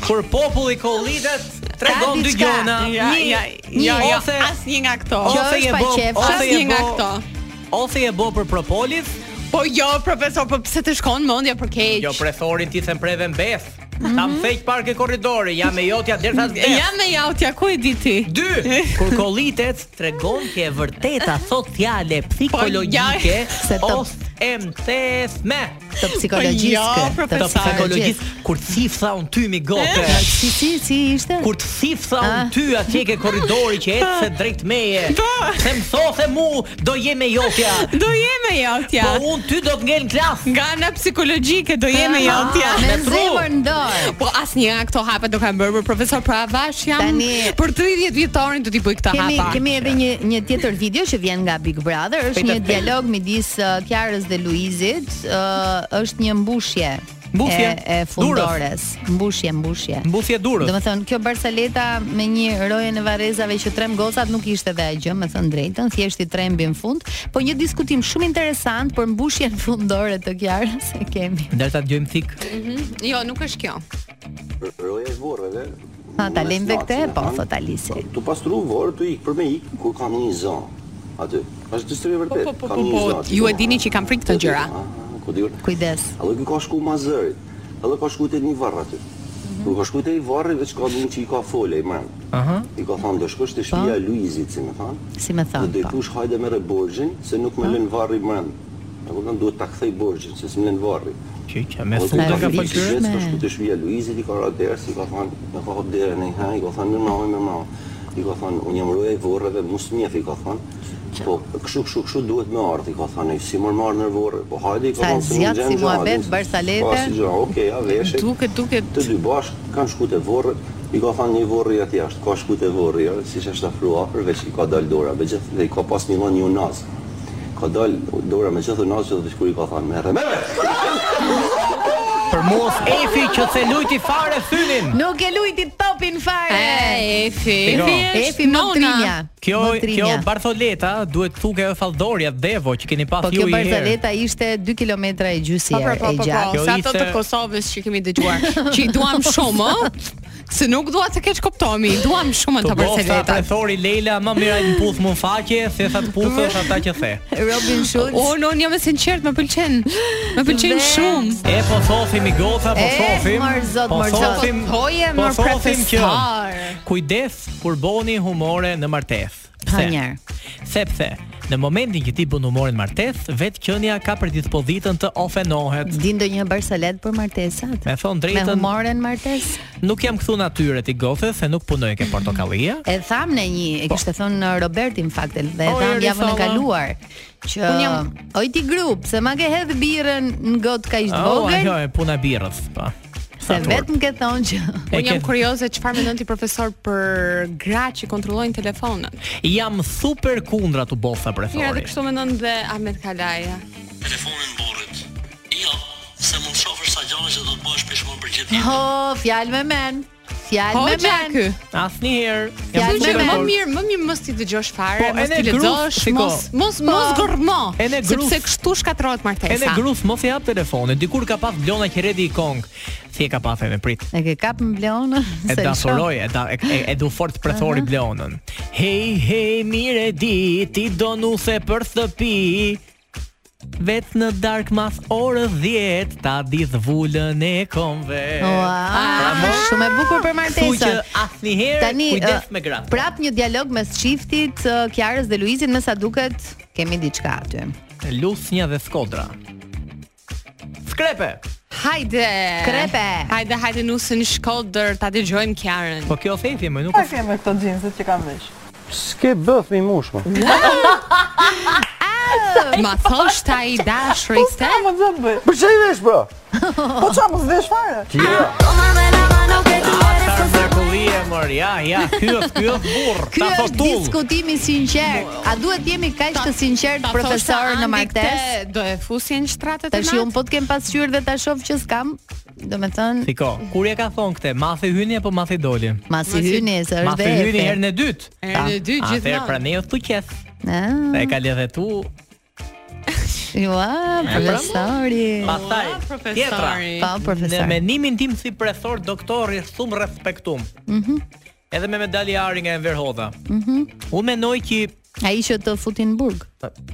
Speaker 4: Kur populli kollitet, tregon dy
Speaker 2: diçka.
Speaker 4: gjona.
Speaker 3: Ja,
Speaker 4: Një-
Speaker 3: ja, ja, ja,
Speaker 4: ose
Speaker 3: asnjë nga këto.
Speaker 2: Kjo
Speaker 4: ose
Speaker 2: është
Speaker 4: je
Speaker 2: pa
Speaker 4: bo,
Speaker 2: qef,
Speaker 4: ose je
Speaker 3: asnjë nga këto.
Speaker 4: bo, ose je bo për propolis,
Speaker 3: Po jo, profesor, po pse të shkon mendja për keq?
Speaker 4: jo prethorin ti them preve mbes. Ta mtheq park e korridori, jam e jotja deri sa vdes.
Speaker 3: Ja me jautja, ku e di ti?
Speaker 4: Dy, kur kollitet tregon që e vërteta thot fjale psikologjike
Speaker 2: Po, ja, se të-
Speaker 4: ose MTSM.
Speaker 2: Të psikologjistë.
Speaker 3: Jo,
Speaker 4: Të
Speaker 3: profesor.
Speaker 4: psikologjisë kur si thaun ty mi gote.
Speaker 2: Si si si ishte?
Speaker 4: Kur të si
Speaker 2: Ah.
Speaker 4: thaun ty atje ke korridori që ecë se drejt meje. Se më thothe mu do je me jotja.
Speaker 3: Do jeme jautja.
Speaker 4: Po unë ty do të ngel në klas.
Speaker 3: Nga ana psikologjike do jeme jautja.
Speaker 2: Ah, Me
Speaker 4: Me tru.
Speaker 2: zemër në dorë.
Speaker 3: Po asnjë nga këto hapa do kanë bërë për profesor Pravash jam
Speaker 2: Tani-
Speaker 3: për 30 vjetorin do t'i bëj këtë
Speaker 2: Kemi
Speaker 3: hapa.
Speaker 2: kemi edhe një një tjetër video që vjen nga Big Brother, është një dialog midis uh, Kiarës dhe Luizit, uh, është një mbushje
Speaker 4: Mbushje,
Speaker 2: e, e fundores, mbushje, mbushje.
Speaker 4: Mbushje durës.
Speaker 2: Domethënë kjo Barsaleta me një roje në varrezave që trem gocat nuk ishte dhe agjë, me thënë drejtën, thjesht i trembi në fund, po një diskutim shumë interesant për mbushjen fundore të Kiarës e kemi.
Speaker 4: Ndërsa dëgjojmë thik.
Speaker 3: Jo, nuk është kjo.
Speaker 11: Roja e zborreve.
Speaker 2: Ha, ta lejmë dhe këtë, po, thot Alisi.
Speaker 11: Tu pastru vorë, tu ikë për me ikë kur kam një zonë. Aty. Është të shtrirë vërtet.
Speaker 3: Po, po, po, po, ju e dini që i kam frikë këto gjëra.
Speaker 11: Ku diun?
Speaker 2: Kujdes.
Speaker 11: Allo ky ka shku ma zërit. Allo ka shku te një varr aty. Kur ka shku te i varri veç ka një që i ka fole i mërë.
Speaker 4: Aha.
Speaker 11: I ka thonë do shkosh te shtëpia e Luizit, si më thon.
Speaker 2: Si më
Speaker 11: Do
Speaker 2: thon. po.
Speaker 11: dejtush hajde merre borxhin se nuk më lën varri mërë. E kupton duhet ta kthej borxhin se s'më lën varri.
Speaker 4: Çiçja me
Speaker 11: Po,
Speaker 4: thudë
Speaker 11: ka
Speaker 4: nga
Speaker 11: frikë
Speaker 4: falqyra.
Speaker 11: vetë, Ka shku te shtëpia e Luizit i ka ra derë, si ka thonë, "Më ka hap derën ai, ha, i ka thonë, "Më mami, më mami." I ka thonë, "Unë jam roja e vorrave, mos mjef," i ka thonë. Po, kështu kështu kështu duhet me ardh, i ka thënë, "Ai, si më marr në vorre." Po hajde i ka
Speaker 2: Sa
Speaker 11: thonë, "Se
Speaker 2: zjat,
Speaker 11: nuk gjen
Speaker 2: si
Speaker 11: gjë,
Speaker 2: muhabet,
Speaker 11: hajde."
Speaker 2: barsalete.
Speaker 11: Po, si gjë, okay, ja veshë.
Speaker 3: Duket, duket.
Speaker 11: Të dy bash kanë shku te vorrë, i ka thënë një vorri aty jashtë, ka shku te vorri, ja, siç është afruar, përveç i ka dal dora, me gjithë dhe i ka pas një lloj unaz. Ka dal dora me gjithë unaz që vetë kur i ka thënë, "Merre, merre."
Speaker 4: Për mos Efi që se lujti fare synin.
Speaker 2: Nuk e lujti topin fare.
Speaker 3: E, Efi.
Speaker 4: Shiko.
Speaker 2: Efi më trinja.
Speaker 4: Kjo
Speaker 2: më
Speaker 4: kjo
Speaker 2: trinja.
Speaker 4: Bartholeta duhet thuke e falldoria Devo që keni pas
Speaker 2: Po
Speaker 4: ju
Speaker 2: kjo
Speaker 4: i herë.
Speaker 2: Barsaleta ishte 2 kilometra e
Speaker 3: Po, po,
Speaker 2: gjysjerë
Speaker 3: po,
Speaker 2: e
Speaker 3: po,
Speaker 2: gjatë.
Speaker 3: po,
Speaker 4: Kjo
Speaker 3: sa ato të
Speaker 4: ishte-
Speaker 3: Kosovës që kemi dëgjuar, që i duam shumë, ë, se nuk dua të keq kuptohemi, i duam shumë
Speaker 4: Të
Speaker 3: ata
Speaker 4: bosta
Speaker 3: Barceleta.
Speaker 4: prethori Leila më mira një puth më në faqe se sa të puthësh ata që the.
Speaker 2: Robin Schulz.
Speaker 3: Unë unë jam e sinqert, më pëlqen. Më pëlqen
Speaker 2: Dhe-
Speaker 3: shumë.
Speaker 4: E po thosim i goca, po
Speaker 2: E,
Speaker 4: thosim.
Speaker 2: mor zot,
Speaker 4: po
Speaker 2: mor zot.
Speaker 4: thosim.
Speaker 3: Po thoje,
Speaker 4: po
Speaker 3: mor
Speaker 4: thosim që
Speaker 3: profesor.
Speaker 4: Kujdes kur bëni humore në martesë.
Speaker 2: Ha, njerë.
Speaker 4: Sepse në momentin që ti bën humorin martesë, vetë qenia ka predispozitën të ofenohet.
Speaker 2: Din ndonjë barsalet për martesat?
Speaker 4: Me thon
Speaker 2: Me
Speaker 4: drejtën,
Speaker 2: humorën martes?
Speaker 4: nuk jam këtu natyrë ti gocë se nuk punoj ke portokallia.
Speaker 2: E tham në një, e kishte uh, thonë Roberti në fakt, dhe e tham
Speaker 4: O, Po.
Speaker 2: javën
Speaker 4: Eri,
Speaker 2: e
Speaker 4: thama.
Speaker 2: kaluar që
Speaker 3: Unë jam-
Speaker 2: oj ti grup, se ma ke hedh birën në gotë kaq të
Speaker 4: Oh,
Speaker 2: vogël,
Speaker 4: ajo e puna e birrës, po.
Speaker 2: se
Speaker 4: Satur.
Speaker 2: vetëm ke thonë që
Speaker 4: E
Speaker 3: Unë jam
Speaker 4: ke-
Speaker 3: kurioze çfarë mendon ti profesor për gra që kontrollojnë telefonën.
Speaker 4: Jam super kundra të bosa
Speaker 3: Mira,
Speaker 4: prethori.
Speaker 3: edhe kështu mendon dhe Ahmet Kalaja.
Speaker 11: Telefonin burrit. Jo, se mund shofër sa gjana që do të bësh pishmon për gjithë
Speaker 2: ho, fjalë me men, fjalë
Speaker 3: Po
Speaker 2: me
Speaker 3: çka
Speaker 2: men.
Speaker 3: ky?
Speaker 4: Asnjëherë.
Speaker 2: Fjalë
Speaker 4: jam
Speaker 3: Kështu
Speaker 2: me
Speaker 3: që
Speaker 4: super
Speaker 2: men.
Speaker 3: më
Speaker 4: dakord.
Speaker 3: mirë, më mirë mos ti dëgjosh fare,
Speaker 4: Po,
Speaker 3: mos
Speaker 4: ene
Speaker 3: ti
Speaker 4: gruf,
Speaker 3: lexosh,
Speaker 4: shiko.
Speaker 3: mos mos mos gërmo.
Speaker 4: Ene gruf.
Speaker 3: Sepse kështu shkatrohet martesa.
Speaker 4: Ene gruf mos i hap telefonin, dikur ka pas Blona Qeredi i Kong. Si e ka pas e me prit.
Speaker 2: E ke kap në blonë,
Speaker 4: E
Speaker 2: se
Speaker 4: da
Speaker 2: shoh.
Speaker 4: foroj, e, da, e, e- e du fort prethori Blonën. Hej, hej, mire di, ti do nuse për shtëpi. Vetë në dark mas orës 10 Ta di dhvullën e komve
Speaker 2: Ua, shumë e bukur për
Speaker 4: Kështu që
Speaker 2: martesën.
Speaker 4: asnjëherë
Speaker 2: Tani
Speaker 4: kujdes
Speaker 2: ë,
Speaker 4: me gratë.
Speaker 2: Prap një dialog mes çiftit ë, Kiarës dhe Luizit, me sa duket kemi diçka aty.
Speaker 4: Lusnja dhe Skodra. Skrepe.
Speaker 3: Hajde.
Speaker 2: Krepe.
Speaker 3: Hajde, hajde nusën në Shkodër, ta dëgjojmë Kiarën.
Speaker 4: Po kjo thefi më nuk është.
Speaker 9: me këto gjinset që kam vesh.
Speaker 11: S'ke bëf mi mushma.
Speaker 3: Ma thosh ta i dashuri se
Speaker 9: më të bëj.
Speaker 11: Për çfarë i vesh bro?
Speaker 9: Po çfarë mos vesh fare?
Speaker 4: Ata mrekullie mor. Ja, ja, ky është ky është burr.
Speaker 2: Ky
Speaker 4: Ta
Speaker 2: është
Speaker 4: fotull.
Speaker 2: diskutimi sinqert. A duhet jemi kaq të sinqert
Speaker 3: Ta
Speaker 2: profesor
Speaker 3: thosh ta
Speaker 2: në
Speaker 3: Andi
Speaker 2: martes?
Speaker 3: këte, Do e fusin shtratet e
Speaker 2: Tash
Speaker 3: natë?
Speaker 2: un po të kem pasqyrë dhe ta shoh që s'kam, domethënë
Speaker 4: Shiko, kur e ka thon këtë, masi hyni apo masi doli?
Speaker 2: masi hyni se është
Speaker 4: Masi
Speaker 2: dhe
Speaker 4: hyni
Speaker 2: efe.
Speaker 4: herën e dytë.
Speaker 3: Erë në dy
Speaker 4: Atëherë
Speaker 3: gjithmonë.
Speaker 4: pranë është tu qes.
Speaker 2: Ah,
Speaker 4: Dhe e ka ledhe tu.
Speaker 2: Ua, profesori.
Speaker 4: Pastaj
Speaker 3: Ua, Po, profesori.
Speaker 4: tjetra.
Speaker 2: Pa
Speaker 4: Në
Speaker 2: profesor.
Speaker 4: menimin tim si profesor doktor i sum respektum. Mhm. Edhe me medalje ari nga Enver Hoxha. Mhm. Unë mendoj që
Speaker 2: Ai që të futin në burg.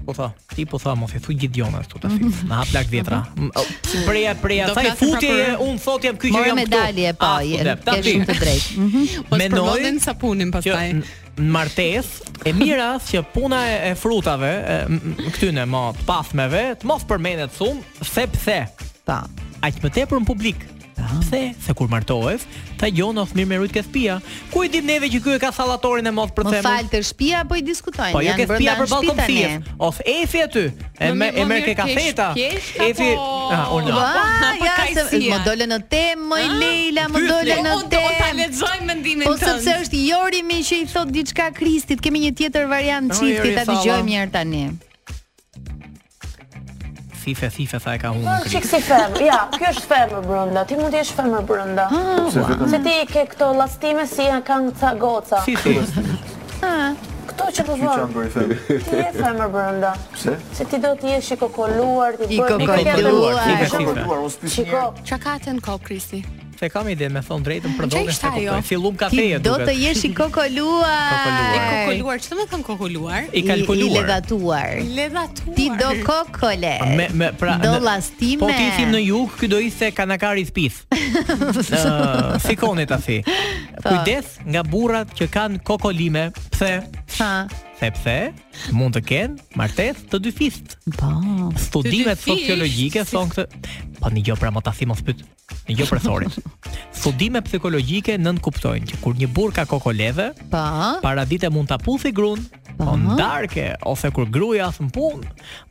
Speaker 4: Po tha, ti po tha mos e thuj gjithë jonat këtu tash.
Speaker 2: Mhm.
Speaker 4: Na hap lak vjetra. M- o, si Preja, preja,
Speaker 3: Do
Speaker 4: sa i
Speaker 3: flasim pra
Speaker 4: futje,
Speaker 3: për-
Speaker 4: un thot jam ky që
Speaker 2: Morë
Speaker 4: jam këtu.
Speaker 2: medalje po,
Speaker 4: Ah,
Speaker 2: je-
Speaker 4: kudep, ta
Speaker 2: ke
Speaker 4: ti.
Speaker 2: shumë të drejtë. Mhm.
Speaker 3: Po
Speaker 4: Menoj-
Speaker 3: spërmendin sapunin
Speaker 4: Që
Speaker 3: pastaj.
Speaker 4: n- në martes e mira është që puna e, e frutave, e, m- m- këtyne më të pasmeve, të mos përmendet shumë, sepse
Speaker 2: Po.
Speaker 4: aq më tepër në publik. Pse? Se kur martohesh, ta gjon of mirë me rujt ke shtëpia. Ku i dim neve që ky e ka sallatorin e mos për
Speaker 2: Më
Speaker 4: themën?
Speaker 2: fal të shtëpia apo i diskutojnë?
Speaker 4: Po jo
Speaker 2: Janë
Speaker 4: ke shtëpia
Speaker 2: brenda
Speaker 4: për
Speaker 2: në shtëpi
Speaker 4: balkon
Speaker 2: tani.
Speaker 4: fies. Of Efi aty. E
Speaker 3: Më
Speaker 4: me
Speaker 3: mirë-
Speaker 4: e
Speaker 3: më
Speaker 4: merr ke
Speaker 3: mirë kesh-
Speaker 4: kafeta.
Speaker 3: kesh
Speaker 4: Efi,
Speaker 3: apo-
Speaker 4: ah, unë.
Speaker 3: Po,
Speaker 2: Ua,
Speaker 3: po,
Speaker 2: ja,
Speaker 3: kajsia.
Speaker 2: se më dole në temë, më
Speaker 3: Ah,
Speaker 2: Leila, më
Speaker 4: pyetni.
Speaker 2: dole në
Speaker 3: Unë do ta
Speaker 2: temë.
Speaker 3: lexoj mendimin
Speaker 2: Po
Speaker 3: tënd.
Speaker 2: sepse është Jorimi që i thot diçka Kristit, kemi një tjetër variant
Speaker 4: O,
Speaker 2: çifti,
Speaker 4: Jori,
Speaker 2: ta
Speaker 4: thalla.
Speaker 2: dëgjojmë një herë tani.
Speaker 4: Si fife, fife, tha e ka unë.
Speaker 12: Po, Shik si femër, ja, kjo është femër brënda, ti mund të jesh femër brënda.
Speaker 4: Pse wow. vetëm?
Speaker 12: Po, Se ti ke këto lastime si janë kanë ca goca.
Speaker 4: Si si?
Speaker 2: Po,
Speaker 12: Ah, Këto që po vënë. Ti je femër brënda.
Speaker 13: Pse?
Speaker 12: Se ti do të jesh i kokoluar, ti
Speaker 2: I
Speaker 12: bëj
Speaker 2: kokoluar,
Speaker 12: kokoluar.
Speaker 4: po, fife, fife.
Speaker 12: Shiko, po
Speaker 3: çka ka atë në kokë Kristi?
Speaker 4: Se kam ide me thon drejtën për
Speaker 3: Çfarë
Speaker 4: dorën
Speaker 3: ishte
Speaker 4: se
Speaker 3: ajo?
Speaker 4: kuptoj. Fillum kafeje
Speaker 2: Do të jesh i kokoluar.
Speaker 3: E kokoluar, çfarë më kanë kokoluar?
Speaker 4: I kalkuluar.
Speaker 2: I levatuar.
Speaker 3: Levatuar.
Speaker 2: Ti do kokole.
Speaker 4: Me me pra
Speaker 2: do
Speaker 4: në-
Speaker 2: lastime.
Speaker 4: Po ti ishim në jug, ky do ishte kanakar i spis. Ë, Sikoni ta si.
Speaker 2: Po.
Speaker 4: Kujdes nga burrat që kanë kokolime, pse?
Speaker 2: Ha.
Speaker 4: Sepse mund të kenë martesë të dy fist.
Speaker 2: Po. Të dy
Speaker 4: Studimet
Speaker 2: fisht?
Speaker 4: sociologjike thonë këtë. Po një gjë pra më ta si mos pyet. Një gjë profesorit. Studime psikologjike nën kuptojnë që kur një burr ka kokoleve,
Speaker 2: Po.
Speaker 4: para dite mund ta puthi grun, po ndarke ose kur gruaja as në punë,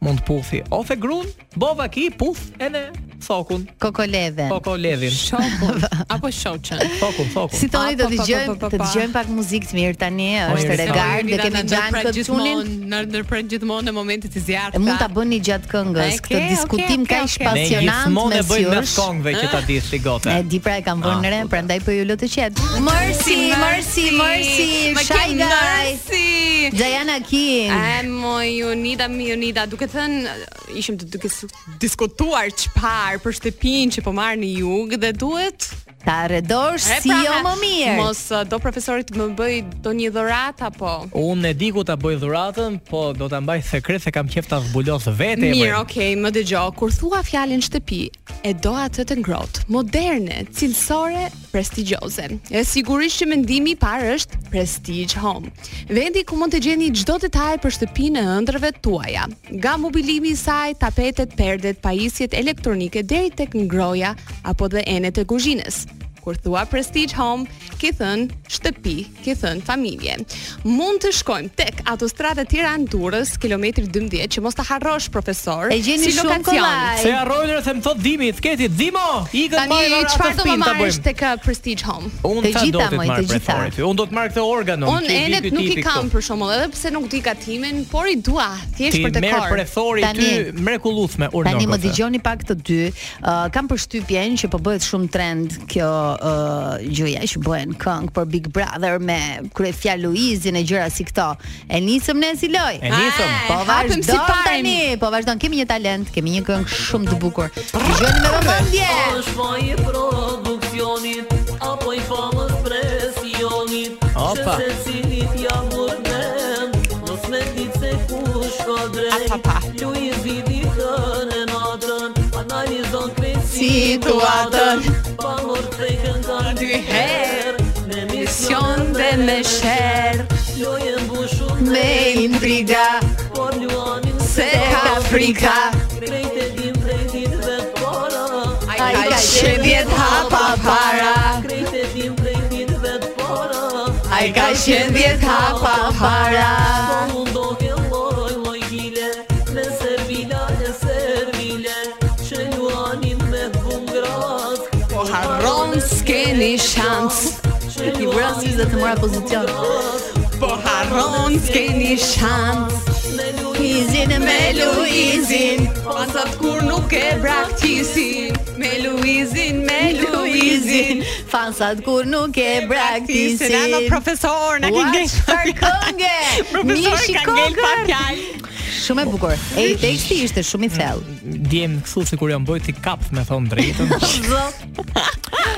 Speaker 4: mund të puthi ose grun, bova ki puth e ne sokun.
Speaker 2: Kokoleve.
Speaker 3: Po-
Speaker 4: Kokolevin.
Speaker 3: Shokun apo shoqën.
Speaker 4: Sokun, sokun.
Speaker 2: Si toni do të dëgjojmë,
Speaker 3: pa, pa,
Speaker 2: të
Speaker 3: pa.
Speaker 2: dëgjojmë pak muzikë të mirë tani,
Speaker 3: Po,
Speaker 2: është
Speaker 3: mirë,
Speaker 2: regard, dhe
Speaker 3: mirë, na
Speaker 2: kemi
Speaker 3: ndërprer
Speaker 2: Xhan Këtunin.
Speaker 3: gjithmonë, na ndërprer gjithmonë në momentet e zjarrta.
Speaker 2: E mund ta bëni gjatë këngës
Speaker 3: Okej,
Speaker 2: këtë
Speaker 3: okej,
Speaker 2: diskutim
Speaker 3: okej,
Speaker 2: kaq
Speaker 3: okej.
Speaker 4: Ne
Speaker 2: pasionant
Speaker 4: gjithmonë e
Speaker 2: mes
Speaker 4: bëjmë me
Speaker 2: jush.
Speaker 4: këngëve që ta dish si gota.
Speaker 2: E di pra e kam vënë
Speaker 4: Ah,
Speaker 2: re, prandaj po ju lë të qetë. Mercy, mercy, mercy,
Speaker 3: Ma ke
Speaker 2: shy guy.
Speaker 3: mercy.
Speaker 2: Diana King.
Speaker 3: E mo Jonida, mi Jonida, duke thënë ishim të duke s- diskutuar çfarë për shtëpinë që po marr në jug dhe duhet
Speaker 2: ta rredosh
Speaker 3: E,
Speaker 2: si
Speaker 3: pra,
Speaker 2: jo më mirë.
Speaker 3: Mos uh, do profesorit më bëj do një dhuratë apo
Speaker 4: Unë e di ku ta bëj dhuratën, po do ta mbaj sekret se kam qef ta zbulos vetë emrin.
Speaker 3: Mirë, okay, më dëgjo. Kur thua fjalën shtëpi, e do atë të ngrohtë, moderne, cilësore, prestigjioze. E sigurisht që mendimi i parë është Prestige Home. Vendi ku mund të gjeni çdo detaj për shtëpinë e ëndrrave tuaja, nga mobilimi i saj, tapetet, perdet, pajisjet elektronike deri tek ngroja apo dhe enet e kuzhinës. Kur thua Prestige Home, ke thën shtëpi, ke thën familje. Mund të shkojmë tek autostrada Tiranë-Durrës, kilometri 12, që mos ta harrosh profesor.
Speaker 2: E gjeni shumë kollaj.
Speaker 4: Se arrojnë se më thot Dimi, sketi Dimo, ikën
Speaker 3: Tani
Speaker 4: marrë në
Speaker 3: çfarë
Speaker 4: atë
Speaker 3: do të
Speaker 4: spinë ta
Speaker 3: marrësh
Speaker 4: bëjmë.
Speaker 3: tek uh, Prestige Home?
Speaker 4: Unë
Speaker 2: Të
Speaker 4: sa do
Speaker 2: gjitha,
Speaker 4: të
Speaker 2: moj, të
Speaker 4: marr
Speaker 2: gjitha.
Speaker 4: preferi. ty. Unë do të marr këtë organon.
Speaker 3: Unë enet nuk i kam për shembull, edhe pse nuk di katimin, por i dua thjesht
Speaker 4: Ti
Speaker 3: për të
Speaker 4: merr
Speaker 3: kor.
Speaker 4: preferi ty
Speaker 2: Tani-
Speaker 4: mrekullueshme urdhë.
Speaker 2: Tani më dëgjoni pak të dy. Uh, kam përshtypjen që po bëhet shumë trend kjo uh, gjëja që bëhen këngë për Big Brother me kryefjalë Luizin e gjëra si këto. E nisëm ne si loj.
Speaker 4: E nisëm.
Speaker 2: Po
Speaker 3: hapëm
Speaker 2: vazhdon
Speaker 3: si parem.
Speaker 2: tani, po vazhdon. Kemi një talent, kemi një këngë shumë të bukur. Dëgjoni me vëmendje.
Speaker 6: shfaj produksionit Apo i famës presionit
Speaker 4: Opa.
Speaker 6: Se se cilit ja vërden Mos me dit se kush ka drejt
Speaker 3: Apa, pa.
Speaker 6: Luiz vidi kën e natën Analizon krejt
Speaker 3: Situatën.
Speaker 6: Pa mërë prej këngan dy her Në
Speaker 3: Mision dhe me sher,
Speaker 6: Loje mbushu
Speaker 2: Me intriga
Speaker 6: Por luanin
Speaker 3: se ka frika,
Speaker 6: Krejt e dim prej ditëve të para
Speaker 3: ai ka shëndjet hapa para,
Speaker 6: Krejt e dim prej ditëve të para
Speaker 3: ai ka shëndjet hapa para.
Speaker 6: Po unë do ke loj loj gile Me servila e servile Që luanin me bungrat Po
Speaker 3: Harron s'keni shans,
Speaker 6: Që
Speaker 2: I vura si dhe të mora pozicion
Speaker 3: po harron s'keni shans.
Speaker 6: me
Speaker 2: Izin me Luizin
Speaker 3: Pasat kur nuk e braktisin Me Luizin, me Luizin
Speaker 2: Fansat kur nuk e braktisin
Speaker 3: na në profesor, na ke
Speaker 2: Ua,
Speaker 3: ngel
Speaker 2: çfarë kënge
Speaker 3: Profesor
Speaker 2: Mishi
Speaker 3: ka ngel pa
Speaker 2: kokën.
Speaker 3: fjallë
Speaker 2: Shumë e bukur E i teksti ishte shumë i thellë
Speaker 3: Mm.
Speaker 4: Djem këtu sikur jam bëjti kap me thon drejtën.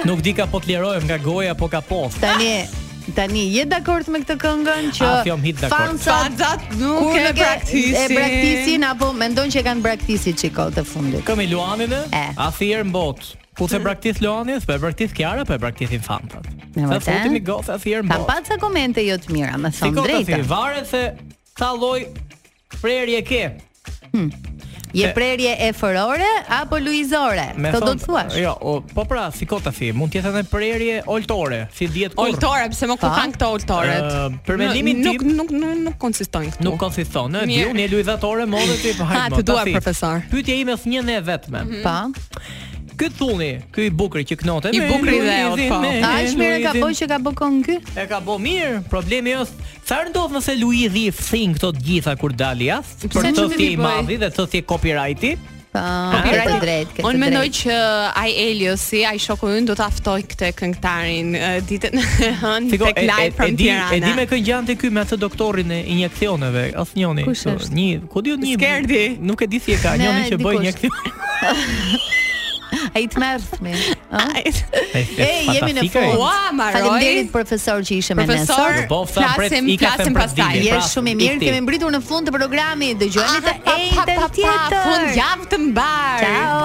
Speaker 4: Nuk di ka po të lirohem nga goja apo ka po.
Speaker 2: Tani Tani je dakord me këtë këngën që
Speaker 4: Ah, jam hit dakord.
Speaker 2: fansat
Speaker 3: nuk
Speaker 2: kur
Speaker 3: e
Speaker 2: nuk
Speaker 3: braktisin.
Speaker 2: e braktisin apo mendojnë që e kanë braktisi çiko të fundit.
Speaker 4: Këmi Luanin e
Speaker 2: E.
Speaker 4: asnjëherë në botë. Ku se braktis Luanin, po e braktis Kiara, po e braktisin fantat.
Speaker 2: Në
Speaker 4: Sa
Speaker 2: vërtet?
Speaker 4: futim i gocë asnjëherë në
Speaker 2: Kam
Speaker 4: botë.
Speaker 2: pas ca komente jo të mira, me thënë
Speaker 4: Shiko të si,
Speaker 2: drejtën.
Speaker 4: varet se sa lloj prerje ke.
Speaker 2: Je
Speaker 4: e-
Speaker 2: prerje e fërore apo luizore?
Speaker 4: Me
Speaker 2: Këto do
Speaker 4: thon-
Speaker 2: të thuash.
Speaker 4: Jo, o, po pra, shiko të si, mund të jetë edhe prerje oltore, si dihet kur.
Speaker 3: Oltore, pse më ku
Speaker 2: Pa.
Speaker 3: kanë këto oltoret
Speaker 4: Ë, për mendimin
Speaker 3: Nuk-
Speaker 4: tim-
Speaker 3: Nuk, nuk, nuk, nuk konsistojnë këtu
Speaker 4: Nuk konsiston, e di,
Speaker 3: Mirë.
Speaker 4: unë e luizatore modhe ti po
Speaker 3: Ha,
Speaker 4: hajtë.
Speaker 3: të duaj, profesor.
Speaker 4: Pyetja ime është një ne vetme.
Speaker 2: Pa.
Speaker 4: Ky thuni, ky i bukri që knote.
Speaker 3: I
Speaker 4: me
Speaker 3: bukri dhe ot,
Speaker 4: Luizin,
Speaker 3: po.
Speaker 4: me
Speaker 2: A është mirë e ka
Speaker 4: Luizin.
Speaker 2: bëj që ka bë këngë ky?
Speaker 4: E ka bo mirë, problemi është çfarë ndodh nëse Luizi i fsin këto të gjitha kur dali
Speaker 3: Pse
Speaker 4: jashtë? Për
Speaker 3: nuk
Speaker 4: të
Speaker 3: i
Speaker 4: si i
Speaker 3: bëj?
Speaker 4: madhi dhe të si copyrighti,
Speaker 2: Po, ke të drejtë, ke të
Speaker 3: Unë mendoj
Speaker 2: drejtë.
Speaker 3: që ai Eliosi, ai shoku ynë do ta ftoj këtë këngëtarin eh, ditën e hënë
Speaker 4: Shiko,
Speaker 3: tek
Speaker 4: e, e,
Speaker 3: live from
Speaker 4: e di, e di
Speaker 3: Tirana.
Speaker 4: me kë gjante ky me atë doktorin e injeksioneve, asnjëni.
Speaker 3: Kush është?
Speaker 4: Një, ku diu një.
Speaker 3: Skerdi.
Speaker 4: Nuk e di si e ka,
Speaker 2: Ne,
Speaker 4: njëri që bëj
Speaker 2: dikush.
Speaker 4: injeksion.
Speaker 2: Ai të mërth me. E jemi në
Speaker 4: fantastike.
Speaker 2: fund.
Speaker 3: Ua, ma roj.
Speaker 2: Faleminderit profesor që ishe me ne
Speaker 3: Profesor,
Speaker 2: sot.
Speaker 4: Po, flasim, flasim, i ka flasim pret pastaj. dilin,
Speaker 2: Je
Speaker 4: pra,
Speaker 2: shumë i mirë,
Speaker 4: ikti.
Speaker 2: kemi mbritur në fund të programit. Dëgjojmë të
Speaker 3: Ah, Pa, pa,
Speaker 2: njëjtën
Speaker 3: pa, pa,
Speaker 2: tjetër.
Speaker 3: Fund javë të mbar.
Speaker 2: Ciao.